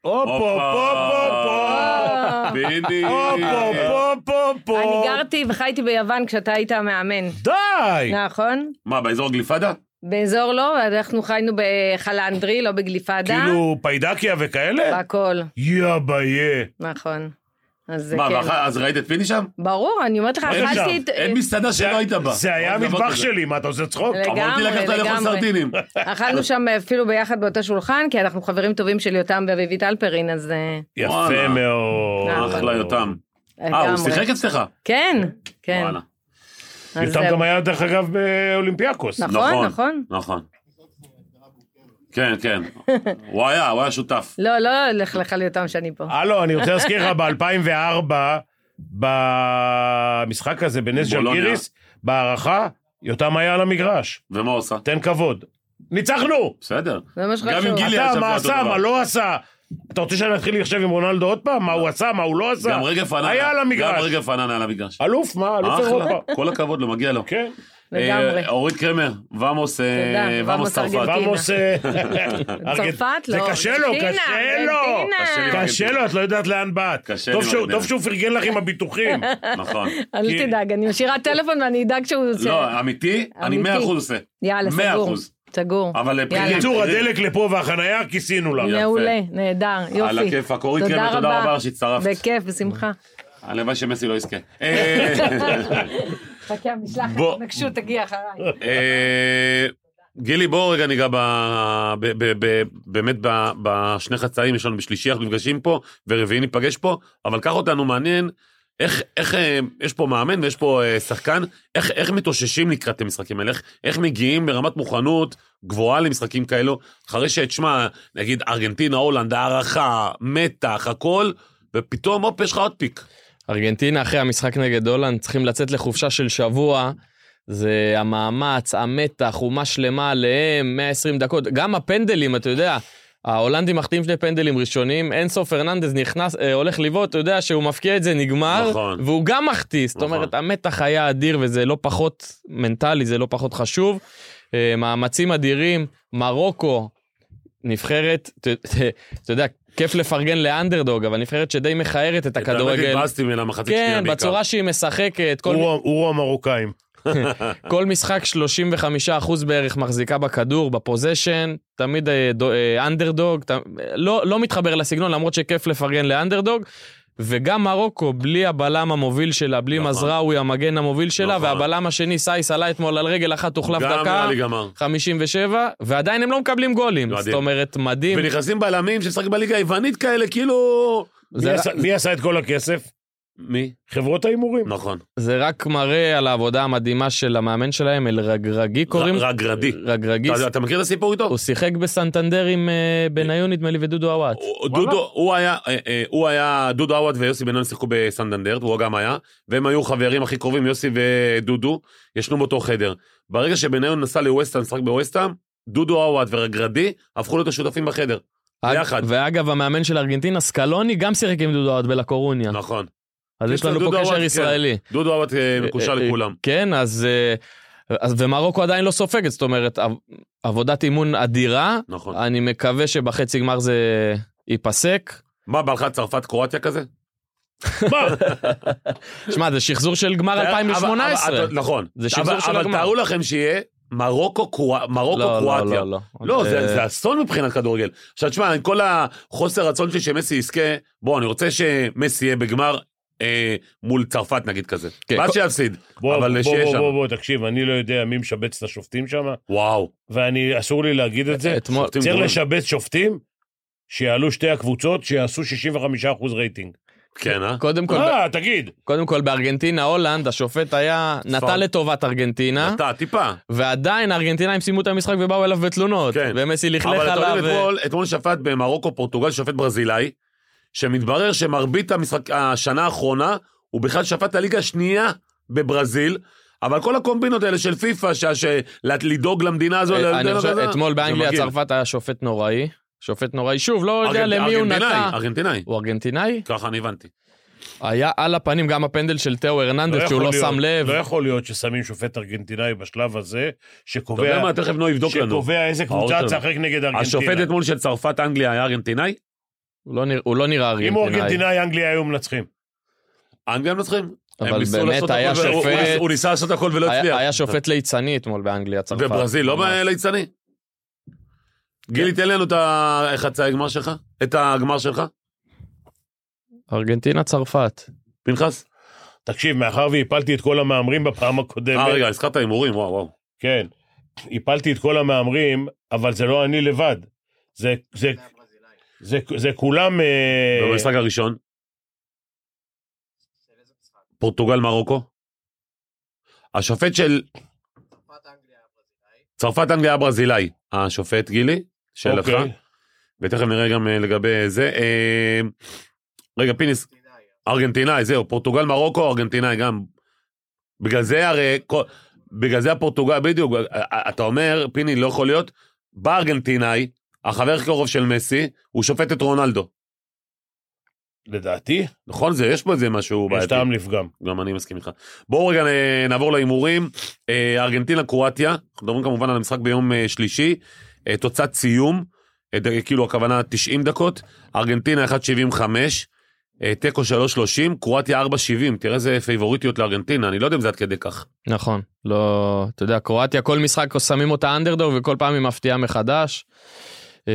S3: הופ, הופ, הופ, הופ, הופ.
S2: בדיוק.
S3: הופ, הופ, הופ, הופ, הופ.
S6: אה. אני גרתי וחייתי ביוון כשאתה היית המאמן,
S3: די!
S6: נכון?
S2: מה, באזור גליפדה?
S6: באזור לא, אנחנו חיינו בחלנדרי, לא בגליפדה.
S3: כאילו פיידקיה וכאלה?
S6: הכל,
S3: יא ביה.
S6: נכון. אז זה
S2: מה,
S6: כן.
S2: ואחר- אז ראית את פיני שם?
S6: ברור, אני אומרת לך,
S3: אין
S6: אכלתי
S3: שם,
S6: את...
S2: אין מסעדה שלא היית בה.
S3: זה היה
S2: עוד דבר
S3: המטבח
S2: כזה.
S3: שלי, מה אתה עושה צחוק?
S2: אמרתי לך, אתה לאכול סרטינים.
S6: אכלנו שם אפילו ביחד באותו שולחן, כי אנחנו חברים טובים של יותם ואביבית אלפרין, אז... אה,
S3: יפה
S2: וואלה.
S3: מאוד.
S2: אחלה יותם. אה,
S6: לגמרי.
S2: הוא שיחק אצלך?
S6: כן, כן.
S2: וואלה.
S6: אז
S3: יותם
S6: זה-
S3: גם היה, דרך אגב, באולימפיאקוס.
S6: נכון, נכון.
S2: נכון. כן, כן. הוא היה, הוא היה שותף.
S6: לא, לא הולך לך ליותם שאני פה.
S3: הלו, אני רוצה להזכיר לך, ב-2004, במשחק הזה בנס
S2: בולוניה.
S3: ג'לגיריס, בהערכה, יותם היה על המגרש.
S2: ומה הוא עושה?
S3: תן כבוד. ניצחנו!
S2: בסדר.
S6: זה מה שחשוב.
S2: גם עם גילי היה
S3: אתה,
S2: שם
S3: מה
S2: זה אותו
S3: עשה,
S2: דבר.
S3: מה לא עשה? אתה רוצה שאני אתחיל לחשב עם רונלדו עוד פעם? מה הוא עשה, מה הוא לא עשה?
S2: גם רגע פננה.
S3: היה על
S2: גם
S3: המגרש. אה,
S2: רגע פננה היה על המגרש.
S3: אלוף, מה? אלוף
S2: אחלה,
S3: אירופה.
S2: כל הכבוד לו, מגיע לו.
S3: כן.
S6: לגמרי.
S2: אה, אורית קרמר, ועמוס, אה,
S6: תודה,
S2: ועמוס
S6: ועמוס
S2: צרפת.
S6: ארגנטינה.
S3: ועמוס... אה,
S6: צרפת
S3: זה
S6: לא.
S3: קשה לו,
S6: ארגנטינה,
S3: קשה לו.
S6: ארגנטינה.
S2: קשה לי עם
S3: קשה לו, את לא יודעת לאן באת.
S2: קשה
S3: טוב
S2: לי
S3: שהוא-
S2: מאוד,
S3: טוב
S2: באמת.
S3: שהוא פרגן לך עם הביטוחים.
S2: נכון.
S6: אל תדאג, אני משאירה טלפון ואני אדאג שהוא...
S2: לא, אמיתי, אני
S6: אמיתי.
S2: 100 אחוז עושה.
S6: יאללה,
S2: מאה
S6: סגור.
S2: אחוז.
S6: סגור.
S2: אבל אה,
S6: יאללה.
S2: בחירים.
S3: קיצור, הדלק לפה והחנייה, כיסינו לך.
S6: מעולה, נהדר, יופי.
S2: על הכיפאק, אורית קרמר, תודה רבה שהצטרפת.
S6: בכיף, בשמחה.
S2: הלוואי שמסי לא יזכה. אה,
S6: חכה, נשלח
S2: בוא.
S6: התנגשות, תגיע אחריי.
S2: אה, גילי, בואו רגע ניגע ב, ב, ב, ב, באמת ב- בשני חצאים, יש לנו בשלישי אנחנו נפגשים פה, ורביעי ניפגש פה, אבל קח אותנו מעניין, איך, איך אה, יש פה מאמן ויש פה אה, שחקן, איך, איך מתאוששים לקראת המשחקים האלה, איך, איך מגיעים ברמת מוכנות גבוהה למשחקים כאלו, אחרי שתשמע, נגיד ארגנטינה, הולנד, הערכה, מתח, הכל, ופתאום, הופ, יש לך עוד פיק.
S4: ארגנטינה אחרי המשחק נגד הולנד צריכים לצאת לחופשה של שבוע. זה המאמץ, המתח, אומה שלמה עליהם, 120 דקות. גם הפנדלים, אתה יודע, ההולנדים מחטיאים שני פנדלים ראשונים, אינסו פרננדז נכנס, אה, הולך לבעוט, אתה יודע שהוא מפקיע את זה, נגמר,
S2: נכון.
S4: והוא גם מחטיא. זאת
S2: נכון.
S4: אומרת, המתח היה אדיר וזה לא פחות מנטלי, זה לא פחות חשוב. אה, מאמצים אדירים, מרוקו, נבחרת, ת- ת- אתה יודע, כיף לפרגן לאנדרדוג, אבל נבחרת שדי מכערת את
S2: האמת
S4: הכדורגל.
S2: התבאסתי ממנה מחצית שנייה
S4: כן,
S2: בעיקר.
S4: בצורה שהיא משחקת, כל,
S3: אורו אורו המרוקאים.
S4: כל משחק 35% בערך מחזיקה בכדור, בפוזיישן, תמיד אה, דו- אה, אנדרדוג, ת- אה, לא, לא מתחבר לסגנון, למרות שכיף לפרגן לאנדרדוג. וגם מרוקו, בלי הבלם המוביל שלה, בלי
S2: נכון.
S4: מזרעוי, המגן המוביל שלה,
S2: נכון.
S4: והבלם השני, סייס, עלה אתמול על רגל אחת, הוחלף
S2: גם
S4: דקה,
S2: נראה לי גמר.
S4: 57, ועדיין הם לא מקבלים גולים.
S2: מדהים.
S4: זאת אומרת, מדהים.
S2: ונכנסים בלמים שמשחקים בליגה היוונית כאלה, כאילו...
S3: מי
S4: זה-
S3: עשה- מי עשה את כל הכסף?
S2: מי?
S3: חברות ההימורים.
S2: נכון.
S4: זה רק מראה על העבודה המדהימה של המאמן שלהם, אל רגרגי קוראים? אה,
S2: ר- רגרדי.
S4: רגרגי.
S2: אתה- אתה מכיר את הסיפור איתו?
S4: הוא שיחק בסנטנדר עם אה, בניון, נדמה לי, ודודו עוואט.
S2: הוא- דודו, הוא היה, אה, אה, הוא היה, דודו עווד ויוסי בן-און שיחקו בסנדנדר, הוא גם היה, והם היו חברים הכי קרובים, יוסי ודודו, ישנו באותו חדר. ברגע שבניון נסע לווסטהאם, לשחק בווסטהאם, דודו עווד ורגרדי הפכו להיות השותפים בחדר. ביחד.
S4: ואגב, המאמן של ארגנטינה, סקלוני, גם שיחק עם דודו עוואט בלקורוניה.
S2: נכון.
S4: אז יש לנו
S2: דודו
S4: פה
S2: עווד,
S4: קשר
S2: כן.
S4: ישראלי.
S2: דודו עווד אה, מקושר
S4: אה, אה,
S2: לכולם.
S4: כן, אז... אה, אז- ומרוקו עדיין לא סופגת, זאת אומרת, עב- עבודת אימון אדירה.
S2: נכון.
S4: אני מקווה שבחצי גמר זה ייפסק.
S2: מה, בא לך צרפת קרואטיה כזה?
S4: שמע, זה שחזור של גמר
S2: אבל- אבל-
S4: 2018.
S2: אבל- נכון.
S4: זה שחזור
S2: אבל-
S4: של
S2: אבל
S4: הגמר.
S2: תארו לכם שיהיה מרוקו קרוא- מרוקו
S4: לא,
S2: קרואטיה.
S4: לא, לא, לא.
S2: לא, זה,
S4: אה,
S2: זה אסון מבחינת כדורגל. עכשיו תשמע, עם כל החוסר רצון שלי שמסי יזכה, בוא, אני רוצה שמסי יהיה בגמר אה, מול צרפת נגיד כזה.
S4: כן,
S2: ואז
S4: כל-
S2: שיפסיד,
S3: בוא,
S2: אבל
S3: בוא,
S2: שיהיה
S3: בוא,
S2: שם.
S3: בוא, בוא, תקשיב, אני לא יודע מי משבץ את השופטים שם,
S2: וואו.
S3: ואני, אסור לי להגיד את
S2: אה,
S3: זה.
S4: אה, אתמול,
S2: שופטים
S3: צריך
S2: גרועים.
S3: לשבץ שופטים שיעלו שתי הקבוצות, שיעשו 65% רייטינג.
S2: כן, אה?
S4: קודם כל,
S3: אה, תגיד.
S4: קודם כל בארגנטינה, הולנד, השופט היה, נטה לטובת ארגנטינה,
S2: אתה, טיפה.
S4: ועדיין הארגנטינאים סיימו את המשחק ובאו אליו בתלונות.
S2: כן.
S4: ומסי לכלך
S2: אבל אתה
S4: עליו. אה.
S2: יודע, אתמול, אתמול שפט במרוקו פורטוגל, שופט ברזילאי, שמתברר שמרבית המשחק, השנה האחרונה, הוא בכלל שפט את הליגה השנייה בברזיל, אבל כל הקומבינות האלה של פיפ"א, שה- של- לדאוג למדינה הזו,
S4: אה,
S2: לדאוג
S4: אני חושב,
S2: למדינה,
S4: אתמול
S2: זה
S4: באנגליה
S2: מגעיל.
S4: צרפת היה שופט נוראי. שופט נוראי, שוב, לא יודע
S2: ארגנ-
S4: למי הוא נטע.
S2: ארגנטינאי, ארגנטינאי.
S4: הוא ארגנטינאי?
S2: ככה אני הבנתי.
S4: היה על הפנים גם הפנדל של תאו הרננדס שהוא
S3: יכול
S4: לא
S3: להיות-
S4: שם לב.
S3: לא יכול להיות ששמים שופט ארגנטינאי בשלב הזה,
S2: אתה יודע
S3: שקובע
S2: מה, תכף נו יבדוק לנו.
S3: שקובע איזה קבוצה
S2: האוטו.
S3: תשחק נגד
S2: השופט
S3: ארגנטינה.
S2: אתמול של צרפת אנגליה היה ארגנטינאי?
S4: הוא לא נרא- הוא לא נראה
S3: אם הוא
S4: ארגנטינאי.
S3: ארגנטינאי, אנגליה היו מנצחים.
S2: אנגליה מנצחים?
S4: אבל
S2: הם ניסו
S4: באמת
S2: לעשות
S4: היה
S2: הכל ו- הוא-
S4: שופט-
S2: הוא ניס- הוא ניסה לעשות הכל ולא
S4: היה-
S2: הצליח.
S4: היה שופט ליצני אתמול באנגליה, צרפת.
S2: בברזיל, לא
S4: ממש.
S2: ליצני? גילי, תן לנו את החצי הגמר שלך, את הגמר שלך,
S4: ארגנטינה, צרפת.
S2: פנחס.
S3: תקשיב, מאחר והפלתי את כל המהמרים בפעם הקודמת,
S2: אה, רגע, הזכרת הימורים, וואו, וואו.
S3: כן, הפלתי את כל המהמרים, אבל זה לא אני לבד. זה, זה, זה, זה כולם... אה,
S2: במשחק הראשון. פורטוגל מרוקו. השופט של... צרפת אנגליה היה ברזילאי. השופט גילי, שלך.
S3: אוקיי.
S2: ותכף נראה גם אה, לגבי זה. אה, רגע, פיניס, ארגנטינאי, זהו, פורטוגל מרוקו, ארגנטינאי גם. בגלל זה הרי, כל- בגלל זה הפורטוגל, בדיוק, אה, אה, אתה אומר, פיני, לא יכול להיות, בא ארגנטינאי, החבר הכי קרוב של מסי, הוא שופט את רונלדו.
S3: לדעתי,
S2: נכון? זה, יש פה איזה משהו
S3: יש
S2: בעייתי.
S3: טעם לפגם.
S2: גם אני מסכים איתך. בואו רגע אה, נעבור להימורים. אה, ארגנטינה, קרואטיה, אנחנו מדברים כמובן על המשחק ביום אה, שלישי. אה, תוצאת סיום, אה, ד- כאילו הכוונה 90 דקות. ארגנטינה 1.75, אה, תיקו 3.30, קרואטיה 4.70. תראה איזה פייבוריטיות לארגנטינה, אני לא יודע אם זה עד כדי כך.
S4: נכון, לא, אתה יודע, קרואטיה, כל משחק שמים אותה אנדרדוג וכל פעם היא מפתיעה מחדש. אה,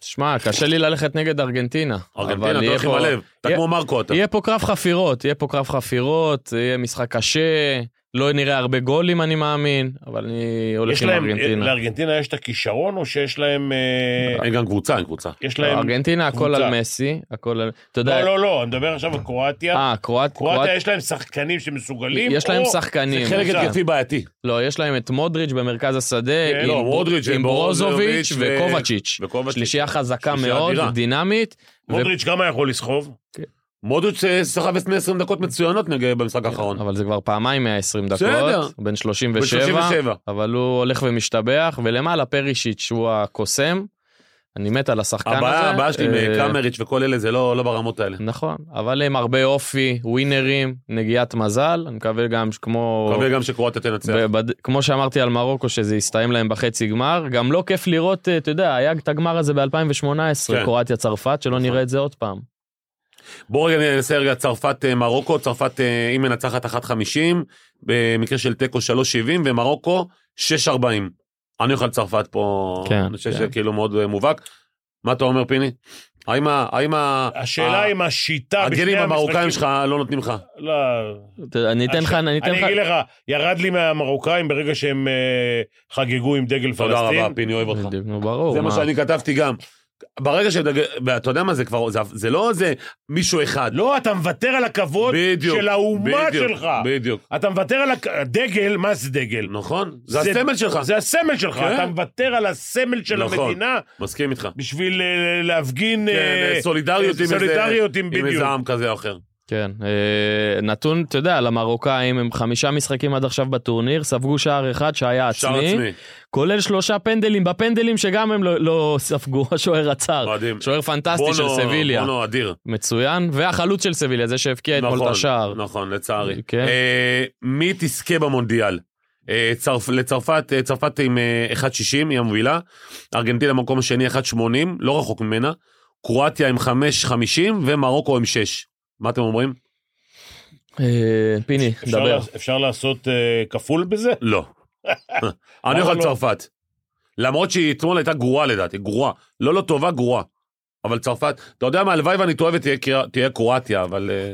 S4: שמע, קשה לי ללכת נגד ארגנטינה.
S2: ארגנטינה,
S4: אבל
S2: אתה
S4: יהיה
S2: הולך עם
S4: פה-
S2: הלב, אתה
S4: יהיה-
S2: כמו מרקו אתה.
S4: יהיה פה קרב חפירות, יהיה פה קרב חפירות, יהיה משחק קשה, לא נראה הרבה גולים אני מאמין, אבל אני הולך
S3: יש
S4: עם
S3: להם,
S4: ארגנטינה.
S3: לארגנטינה יש את הכישרון או שיש להם... אה,
S2: אין גם קבוצה, אין קבוצה.
S3: יש
S4: לא,
S3: להם...
S4: ארגנטינה הכל
S3: קבוצה.
S4: על מסי, הכל על... אתה יודע,
S3: לא, לא, לא, אני מדבר עכשיו על קרואטיה.
S4: אה, קרואט-
S3: קרואטיה
S4: קרואט-
S3: יש להם שחקנים שמסוגלים,
S4: יש להם
S3: או-
S4: שחקנים.
S2: חלק
S3: קבוצה.
S2: התקפי בעייתי.
S4: לא, יש להם את מודריץ' במרכז השדה,
S3: כן,
S4: עם
S2: לא,
S4: בו-
S2: מודריץ'
S4: עם
S2: וברוזוביץ'
S4: ברוזוביץ'
S2: ו-
S4: וקובצ'יץ'.
S2: וקובצ'יץ'.
S4: שלישייה חזקה
S2: שלישייה
S4: מאוד,
S2: אדירה.
S4: דינמית. ו- כן.
S3: מודריץ' כמה יכול לסחוב?
S2: מודריץ' אה, סחב 20 דקות מצוינות נגד
S4: כן.
S2: במשחק האחרון.
S4: אבל זה כבר פעמיים 120 דקות,
S2: כן. בסדר.
S4: הוא בן
S2: בן
S4: 37,
S2: 37.
S4: אבל הוא הולך ומשתבח, ולמעלה פרישיץ' הוא הקוסם, אני מת על השחקן הזה.
S2: הבעיה הבעיה שלי עם
S4: אה,
S2: אה, קרמריץ' וכל אלה זה לא לא ברמות האלה.
S4: נכון, אבל הם הרבה אופי, ווינרים, נגיעת מזל, אני מקווה גם שכמו...
S2: מקווה גם שקרואטיה תנצח.
S4: ב- בד- כמו שאמרתי על מרוקו, שזה יסתיים להם בחצי גמר, גם לא כיף לראות, אה, אתה יודע, היה את הגמר הזה ב-2018,
S2: כן.
S4: קרואטיה צרפת, שלא נראה את זה עוד פעם.
S2: בואו רגע ננסה רגע צרפת אה, מרוקו, צרפת אה, היא מנצחת 1.50, במקרה של תיקו 3.70 ומרוקו 6.40. אני אוכל צרפת פה,
S4: כן,
S2: אני חושב
S4: כן.
S2: שכאילו מאוד אה, מובהק. מה אתה אומר פיני? האם ה- האם ה-
S3: השאלה
S4: אה,
S2: ה-
S3: אם השיטה
S2: הגנים המרוקאים שלך לא נותנים לך?
S3: לא.
S4: אתה- אני
S2: אה,
S4: אתן לך, אני אתן
S3: אני אגיד
S4: לך,
S3: לך, ירד לי מהמרוקאים ברגע שהם אה, חגגו עם דגל
S2: תודה
S3: פלסטין.
S2: רבה פיני אוהב אותך.
S4: בדיוק, נו ברור,
S2: זה מה
S4: מה?
S2: שאני כתבתי גם. ברגע שאתה יודע מה זה כבר, זה- זה לא איזה מישהו אחד.
S3: לא, אתה מוותר על הכבוד
S2: בדיוק.
S3: של האומה
S2: בדיוק,
S3: שלך.
S2: בדיוק.
S3: אתה מוותר על הכ- הדגל, מה זה דגל?
S2: נכון? זה הסמל שלך.
S3: זה הסמל שלך,
S2: כן.
S3: אתה מוותר על הסמל של
S2: נכון.
S3: המדינה
S2: מסכים איתך.
S3: בשביל אה, להפגין
S2: כן,
S3: אה,
S2: סולידריות עם איזה-
S3: סולידריות עם
S2: עם
S3: בדיוק.
S2: איזה עם כזה או אחר.
S4: כן, אה, נתון, אתה יודע, למרוקאים הם חמישה משחקים עד עכשיו בטורניר, ספגו שער אחד שהיה
S2: שער
S4: עצמי,
S2: עצמי.
S4: כולל שלושה פנדלים בפנדלים שגם הם לא- לא ספגו, השוער עצר.
S2: מדהים.
S4: שוער אוקיי. פנטסטי של
S2: אה, בונו-
S4: סביליה,
S2: בונו אדיר.
S4: מצוין, והחלוץ של סביליה, זה שהבקיע אתמול את השער.
S2: נכון, לצערי.
S4: כן.
S2: אה, מי תזכה במונדיאל? אה, צרפ- לצרפת, אה, צרפת עם אה, 1.60 היא המובילה, ארגנטינה במקום השני 1.80, לא רחוק ממנה, קרואטיה עם 5.50 ומרוקו עם 6. מה אתם אומרים?
S4: אה, פיני,
S3: אפשר
S4: דבר.
S3: לעש- אפשר לעשות אה, כפול בזה?
S2: לא. אני
S3: למה
S2: אוכל
S3: לא?
S2: צרפת. למרות שהיא אתמול הייתה גרועה לדעתי, גרועה. לא לא טובה, גרועה. אבל צרפת, אתה יודע מה, הלוואי ואני טועה ותהיה קרא- תהיה קרואטיה, אבל... אה,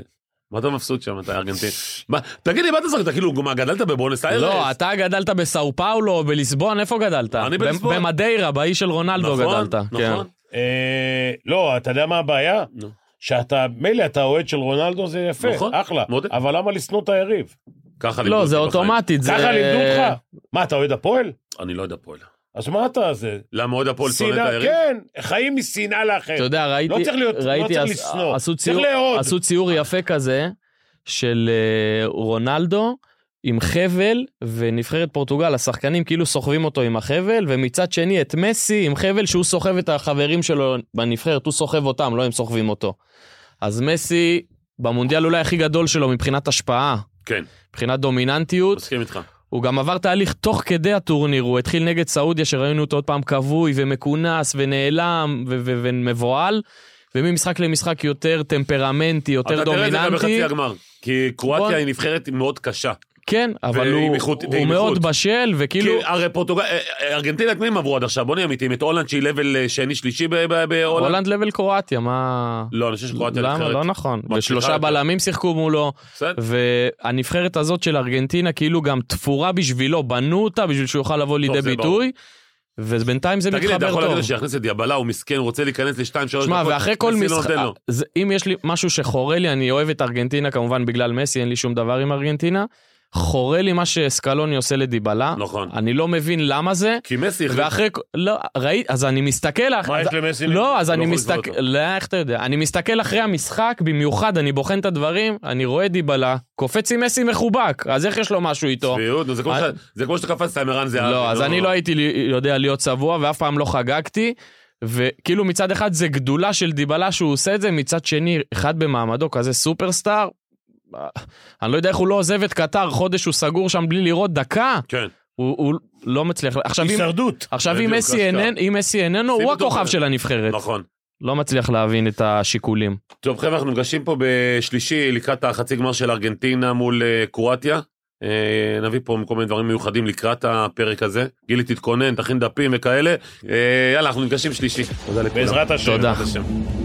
S2: מה אתה מבסוט שם, אתה ארגנטין? מה- תגיד לי, מה אתה זוכר? אתה כאילו, מה, גדלת בבואנס איירס?
S4: לא, אתה גדלת בסאו פאולו או בליסבון, איפה גדלת?
S2: אני
S4: במ-
S2: בליסבון.
S4: במדיירה, באי של רונלדו
S2: נכון,
S4: גדלת. כן.
S2: נכון.
S3: אה, לא, אתה יודע מה הבעיה?
S2: נו.
S3: שאתה, מילא אתה אוהד של רונלדו, זה יפה,
S2: נכון,
S3: אחלה,
S2: מודה.
S3: אבל למה לשנוא את היריב?
S2: ככה לימדו
S4: לא,
S2: אותי
S4: זה
S2: בחיים.
S4: אוטומטית. זה-
S3: ככה לימדו אותך? מה, אתה אוהד הפועל?
S2: אני לא יודע פועל.
S3: אז מה אתה זה?
S2: למה עוד הפועל שונא את
S3: שנאה-
S2: היריב?
S3: כן, חיים משנאה לאחר.
S4: אתה יודע, ראיתי,
S3: לא צריך להיות- לא
S4: ראיתי
S3: צריך
S4: עש-
S3: לשנוא,
S4: עשו
S3: צריך
S4: ציור-
S3: לאהוד.
S4: עשו ציור יפה כזה של אה, רונלדו עם חבל ונבחרת פורטוגל, השחקנים כאילו סוחבים אותו עם החבל, ומצד שני את מסי עם חבל שהוא סוחב את החברים שלו בנבחרת, הוא סוחב אותם, לא הם סוחבים אותו. אז מסי, במונדיאל אולי הכי גדול שלו מבחינת השפעה,
S2: כן,
S4: מבחינת דומיננטיות,
S2: מסכים איתך.
S4: הוא גם עבר תהליך תוך כדי הטורניר, הוא התחיל נגד סעודיה שראינו אותו עוד פעם כבוי ומכונס ונעלם ו- ו- ומבוהל, וממשחק למשחק יותר טמפרמנטי, יותר
S2: אתה תראה את זה גם
S4: דומיננטי.
S2: בחצי הגמר. כי
S4: בוא-
S2: קרואטיה היא נבחרת מאוד קשה.
S4: כן, אבל
S2: ועם
S4: הוא,
S2: איכות-
S4: הוא
S2: ועם
S4: מאוד
S2: איכות.
S4: בשל,
S2: כי
S4: וכאילו
S2: הרי פורטוגל, אה, אה, ארגנטינה את מי הם עברו עד עכשיו? בוא נהיה אמיתיים, את הולנד שהיא לבל שני שלישי ב- ב- בהולנד?
S4: הולנד לבל קרואטיה, מה...
S2: לא, אני חושב שקרואטיה
S4: למה?
S2: נבחרת.
S4: לא נכון.
S2: מצליחה
S4: ושלושה
S2: יותר.
S4: בלמים שיחקו מולו,
S2: בסדר?
S4: והנבחרת הזאת של ארגנטינה כאילו גם תפורה בשבילו, בנו אותה בשביל שהוא יוכל לבוא לידי
S2: לא, זה ברור.
S4: ביטוי, ובינתיים זה
S2: תגיד לי, אתה
S4: מתחבר
S2: יכול להגיד
S4: טוב.
S2: לו שיכניס את דיאבלה, הוא מסכן, הוא רוצה להיכנס לשתיים, שלוש
S4: שמע,
S2: דקות,
S4: ואחרי כל
S2: מסי לא
S4: משחק, אה,
S2: נותן לו.
S4: זה- אם יש לי משהו שחורה לי, אני אוהב את ארגנטינה כמובן בגלל מסי, אין לי שום דבר עם ארגנטינה. חורה לי מה שסקלוני עושה לדיבלה.
S2: נכון.
S4: אני לא מבין למה זה.
S2: כי מסי, החליט-
S4: ואחרי, כל- לא, ראית, אז אני מסתכל, אח-
S3: מה
S4: אז-
S3: יש למסי?
S4: לא, אז
S2: אתה
S4: אני
S2: לא יכול לסבול
S4: מסתכל,
S2: אותו.
S4: לא, איך אתה יודע? אני מסתכל אחרי המשחק, במיוחד, אני בוחן את הדברים, אני רואה דיבלה, קופץ עם מסי מחובק, אז איך יש לו משהו איתו?
S2: צביעות, נו, זה כמו
S4: אה-
S2: ש- זה כמו שאתה קפצת עם ערן זהבי.
S4: לא, אז
S2: נו.
S4: אני לא הייתי לי- יודע להיות צבוע ואף פעם לא חגגתי. וכאילו מצד אחד זה גדולה של דיבלה שהוא עושה את זה, מצד שני, אחד במעמדו כזה סופרסטאר, אה, אני לא יודע איך הוא לא עוזב את קטר, חודש הוא סגור שם בלי לראות דקה,
S2: כן.
S4: הוא, הוא לא מצליח, עכשיו אם,
S3: הישרדות.
S4: עכשיו אם
S2: בדיוק,
S4: מסי
S2: אשכרה.
S4: איננו, אם מסי איננו,
S2: שים
S4: הוא
S2: אותו
S4: הכוכב
S2: ב-
S4: של הנבחרת.
S2: נכון.
S4: לא מצליח להבין את השיקולים.
S2: טוב חבר'ה אנחנו נפגשים פה בשלישי לקראת החצי גמר של ארגנטינה מול אה, קרואטיה. אה, נביא פה כל מיני דברים מיוחדים לקראת הפרק הזה. גילי תתכונן, תכין דפים וכאלה. אה, יאללה אנחנו נפגשים שלישי. תודה לכולם.
S3: בעזרת השם.
S4: תודה.
S2: בעזרת השם.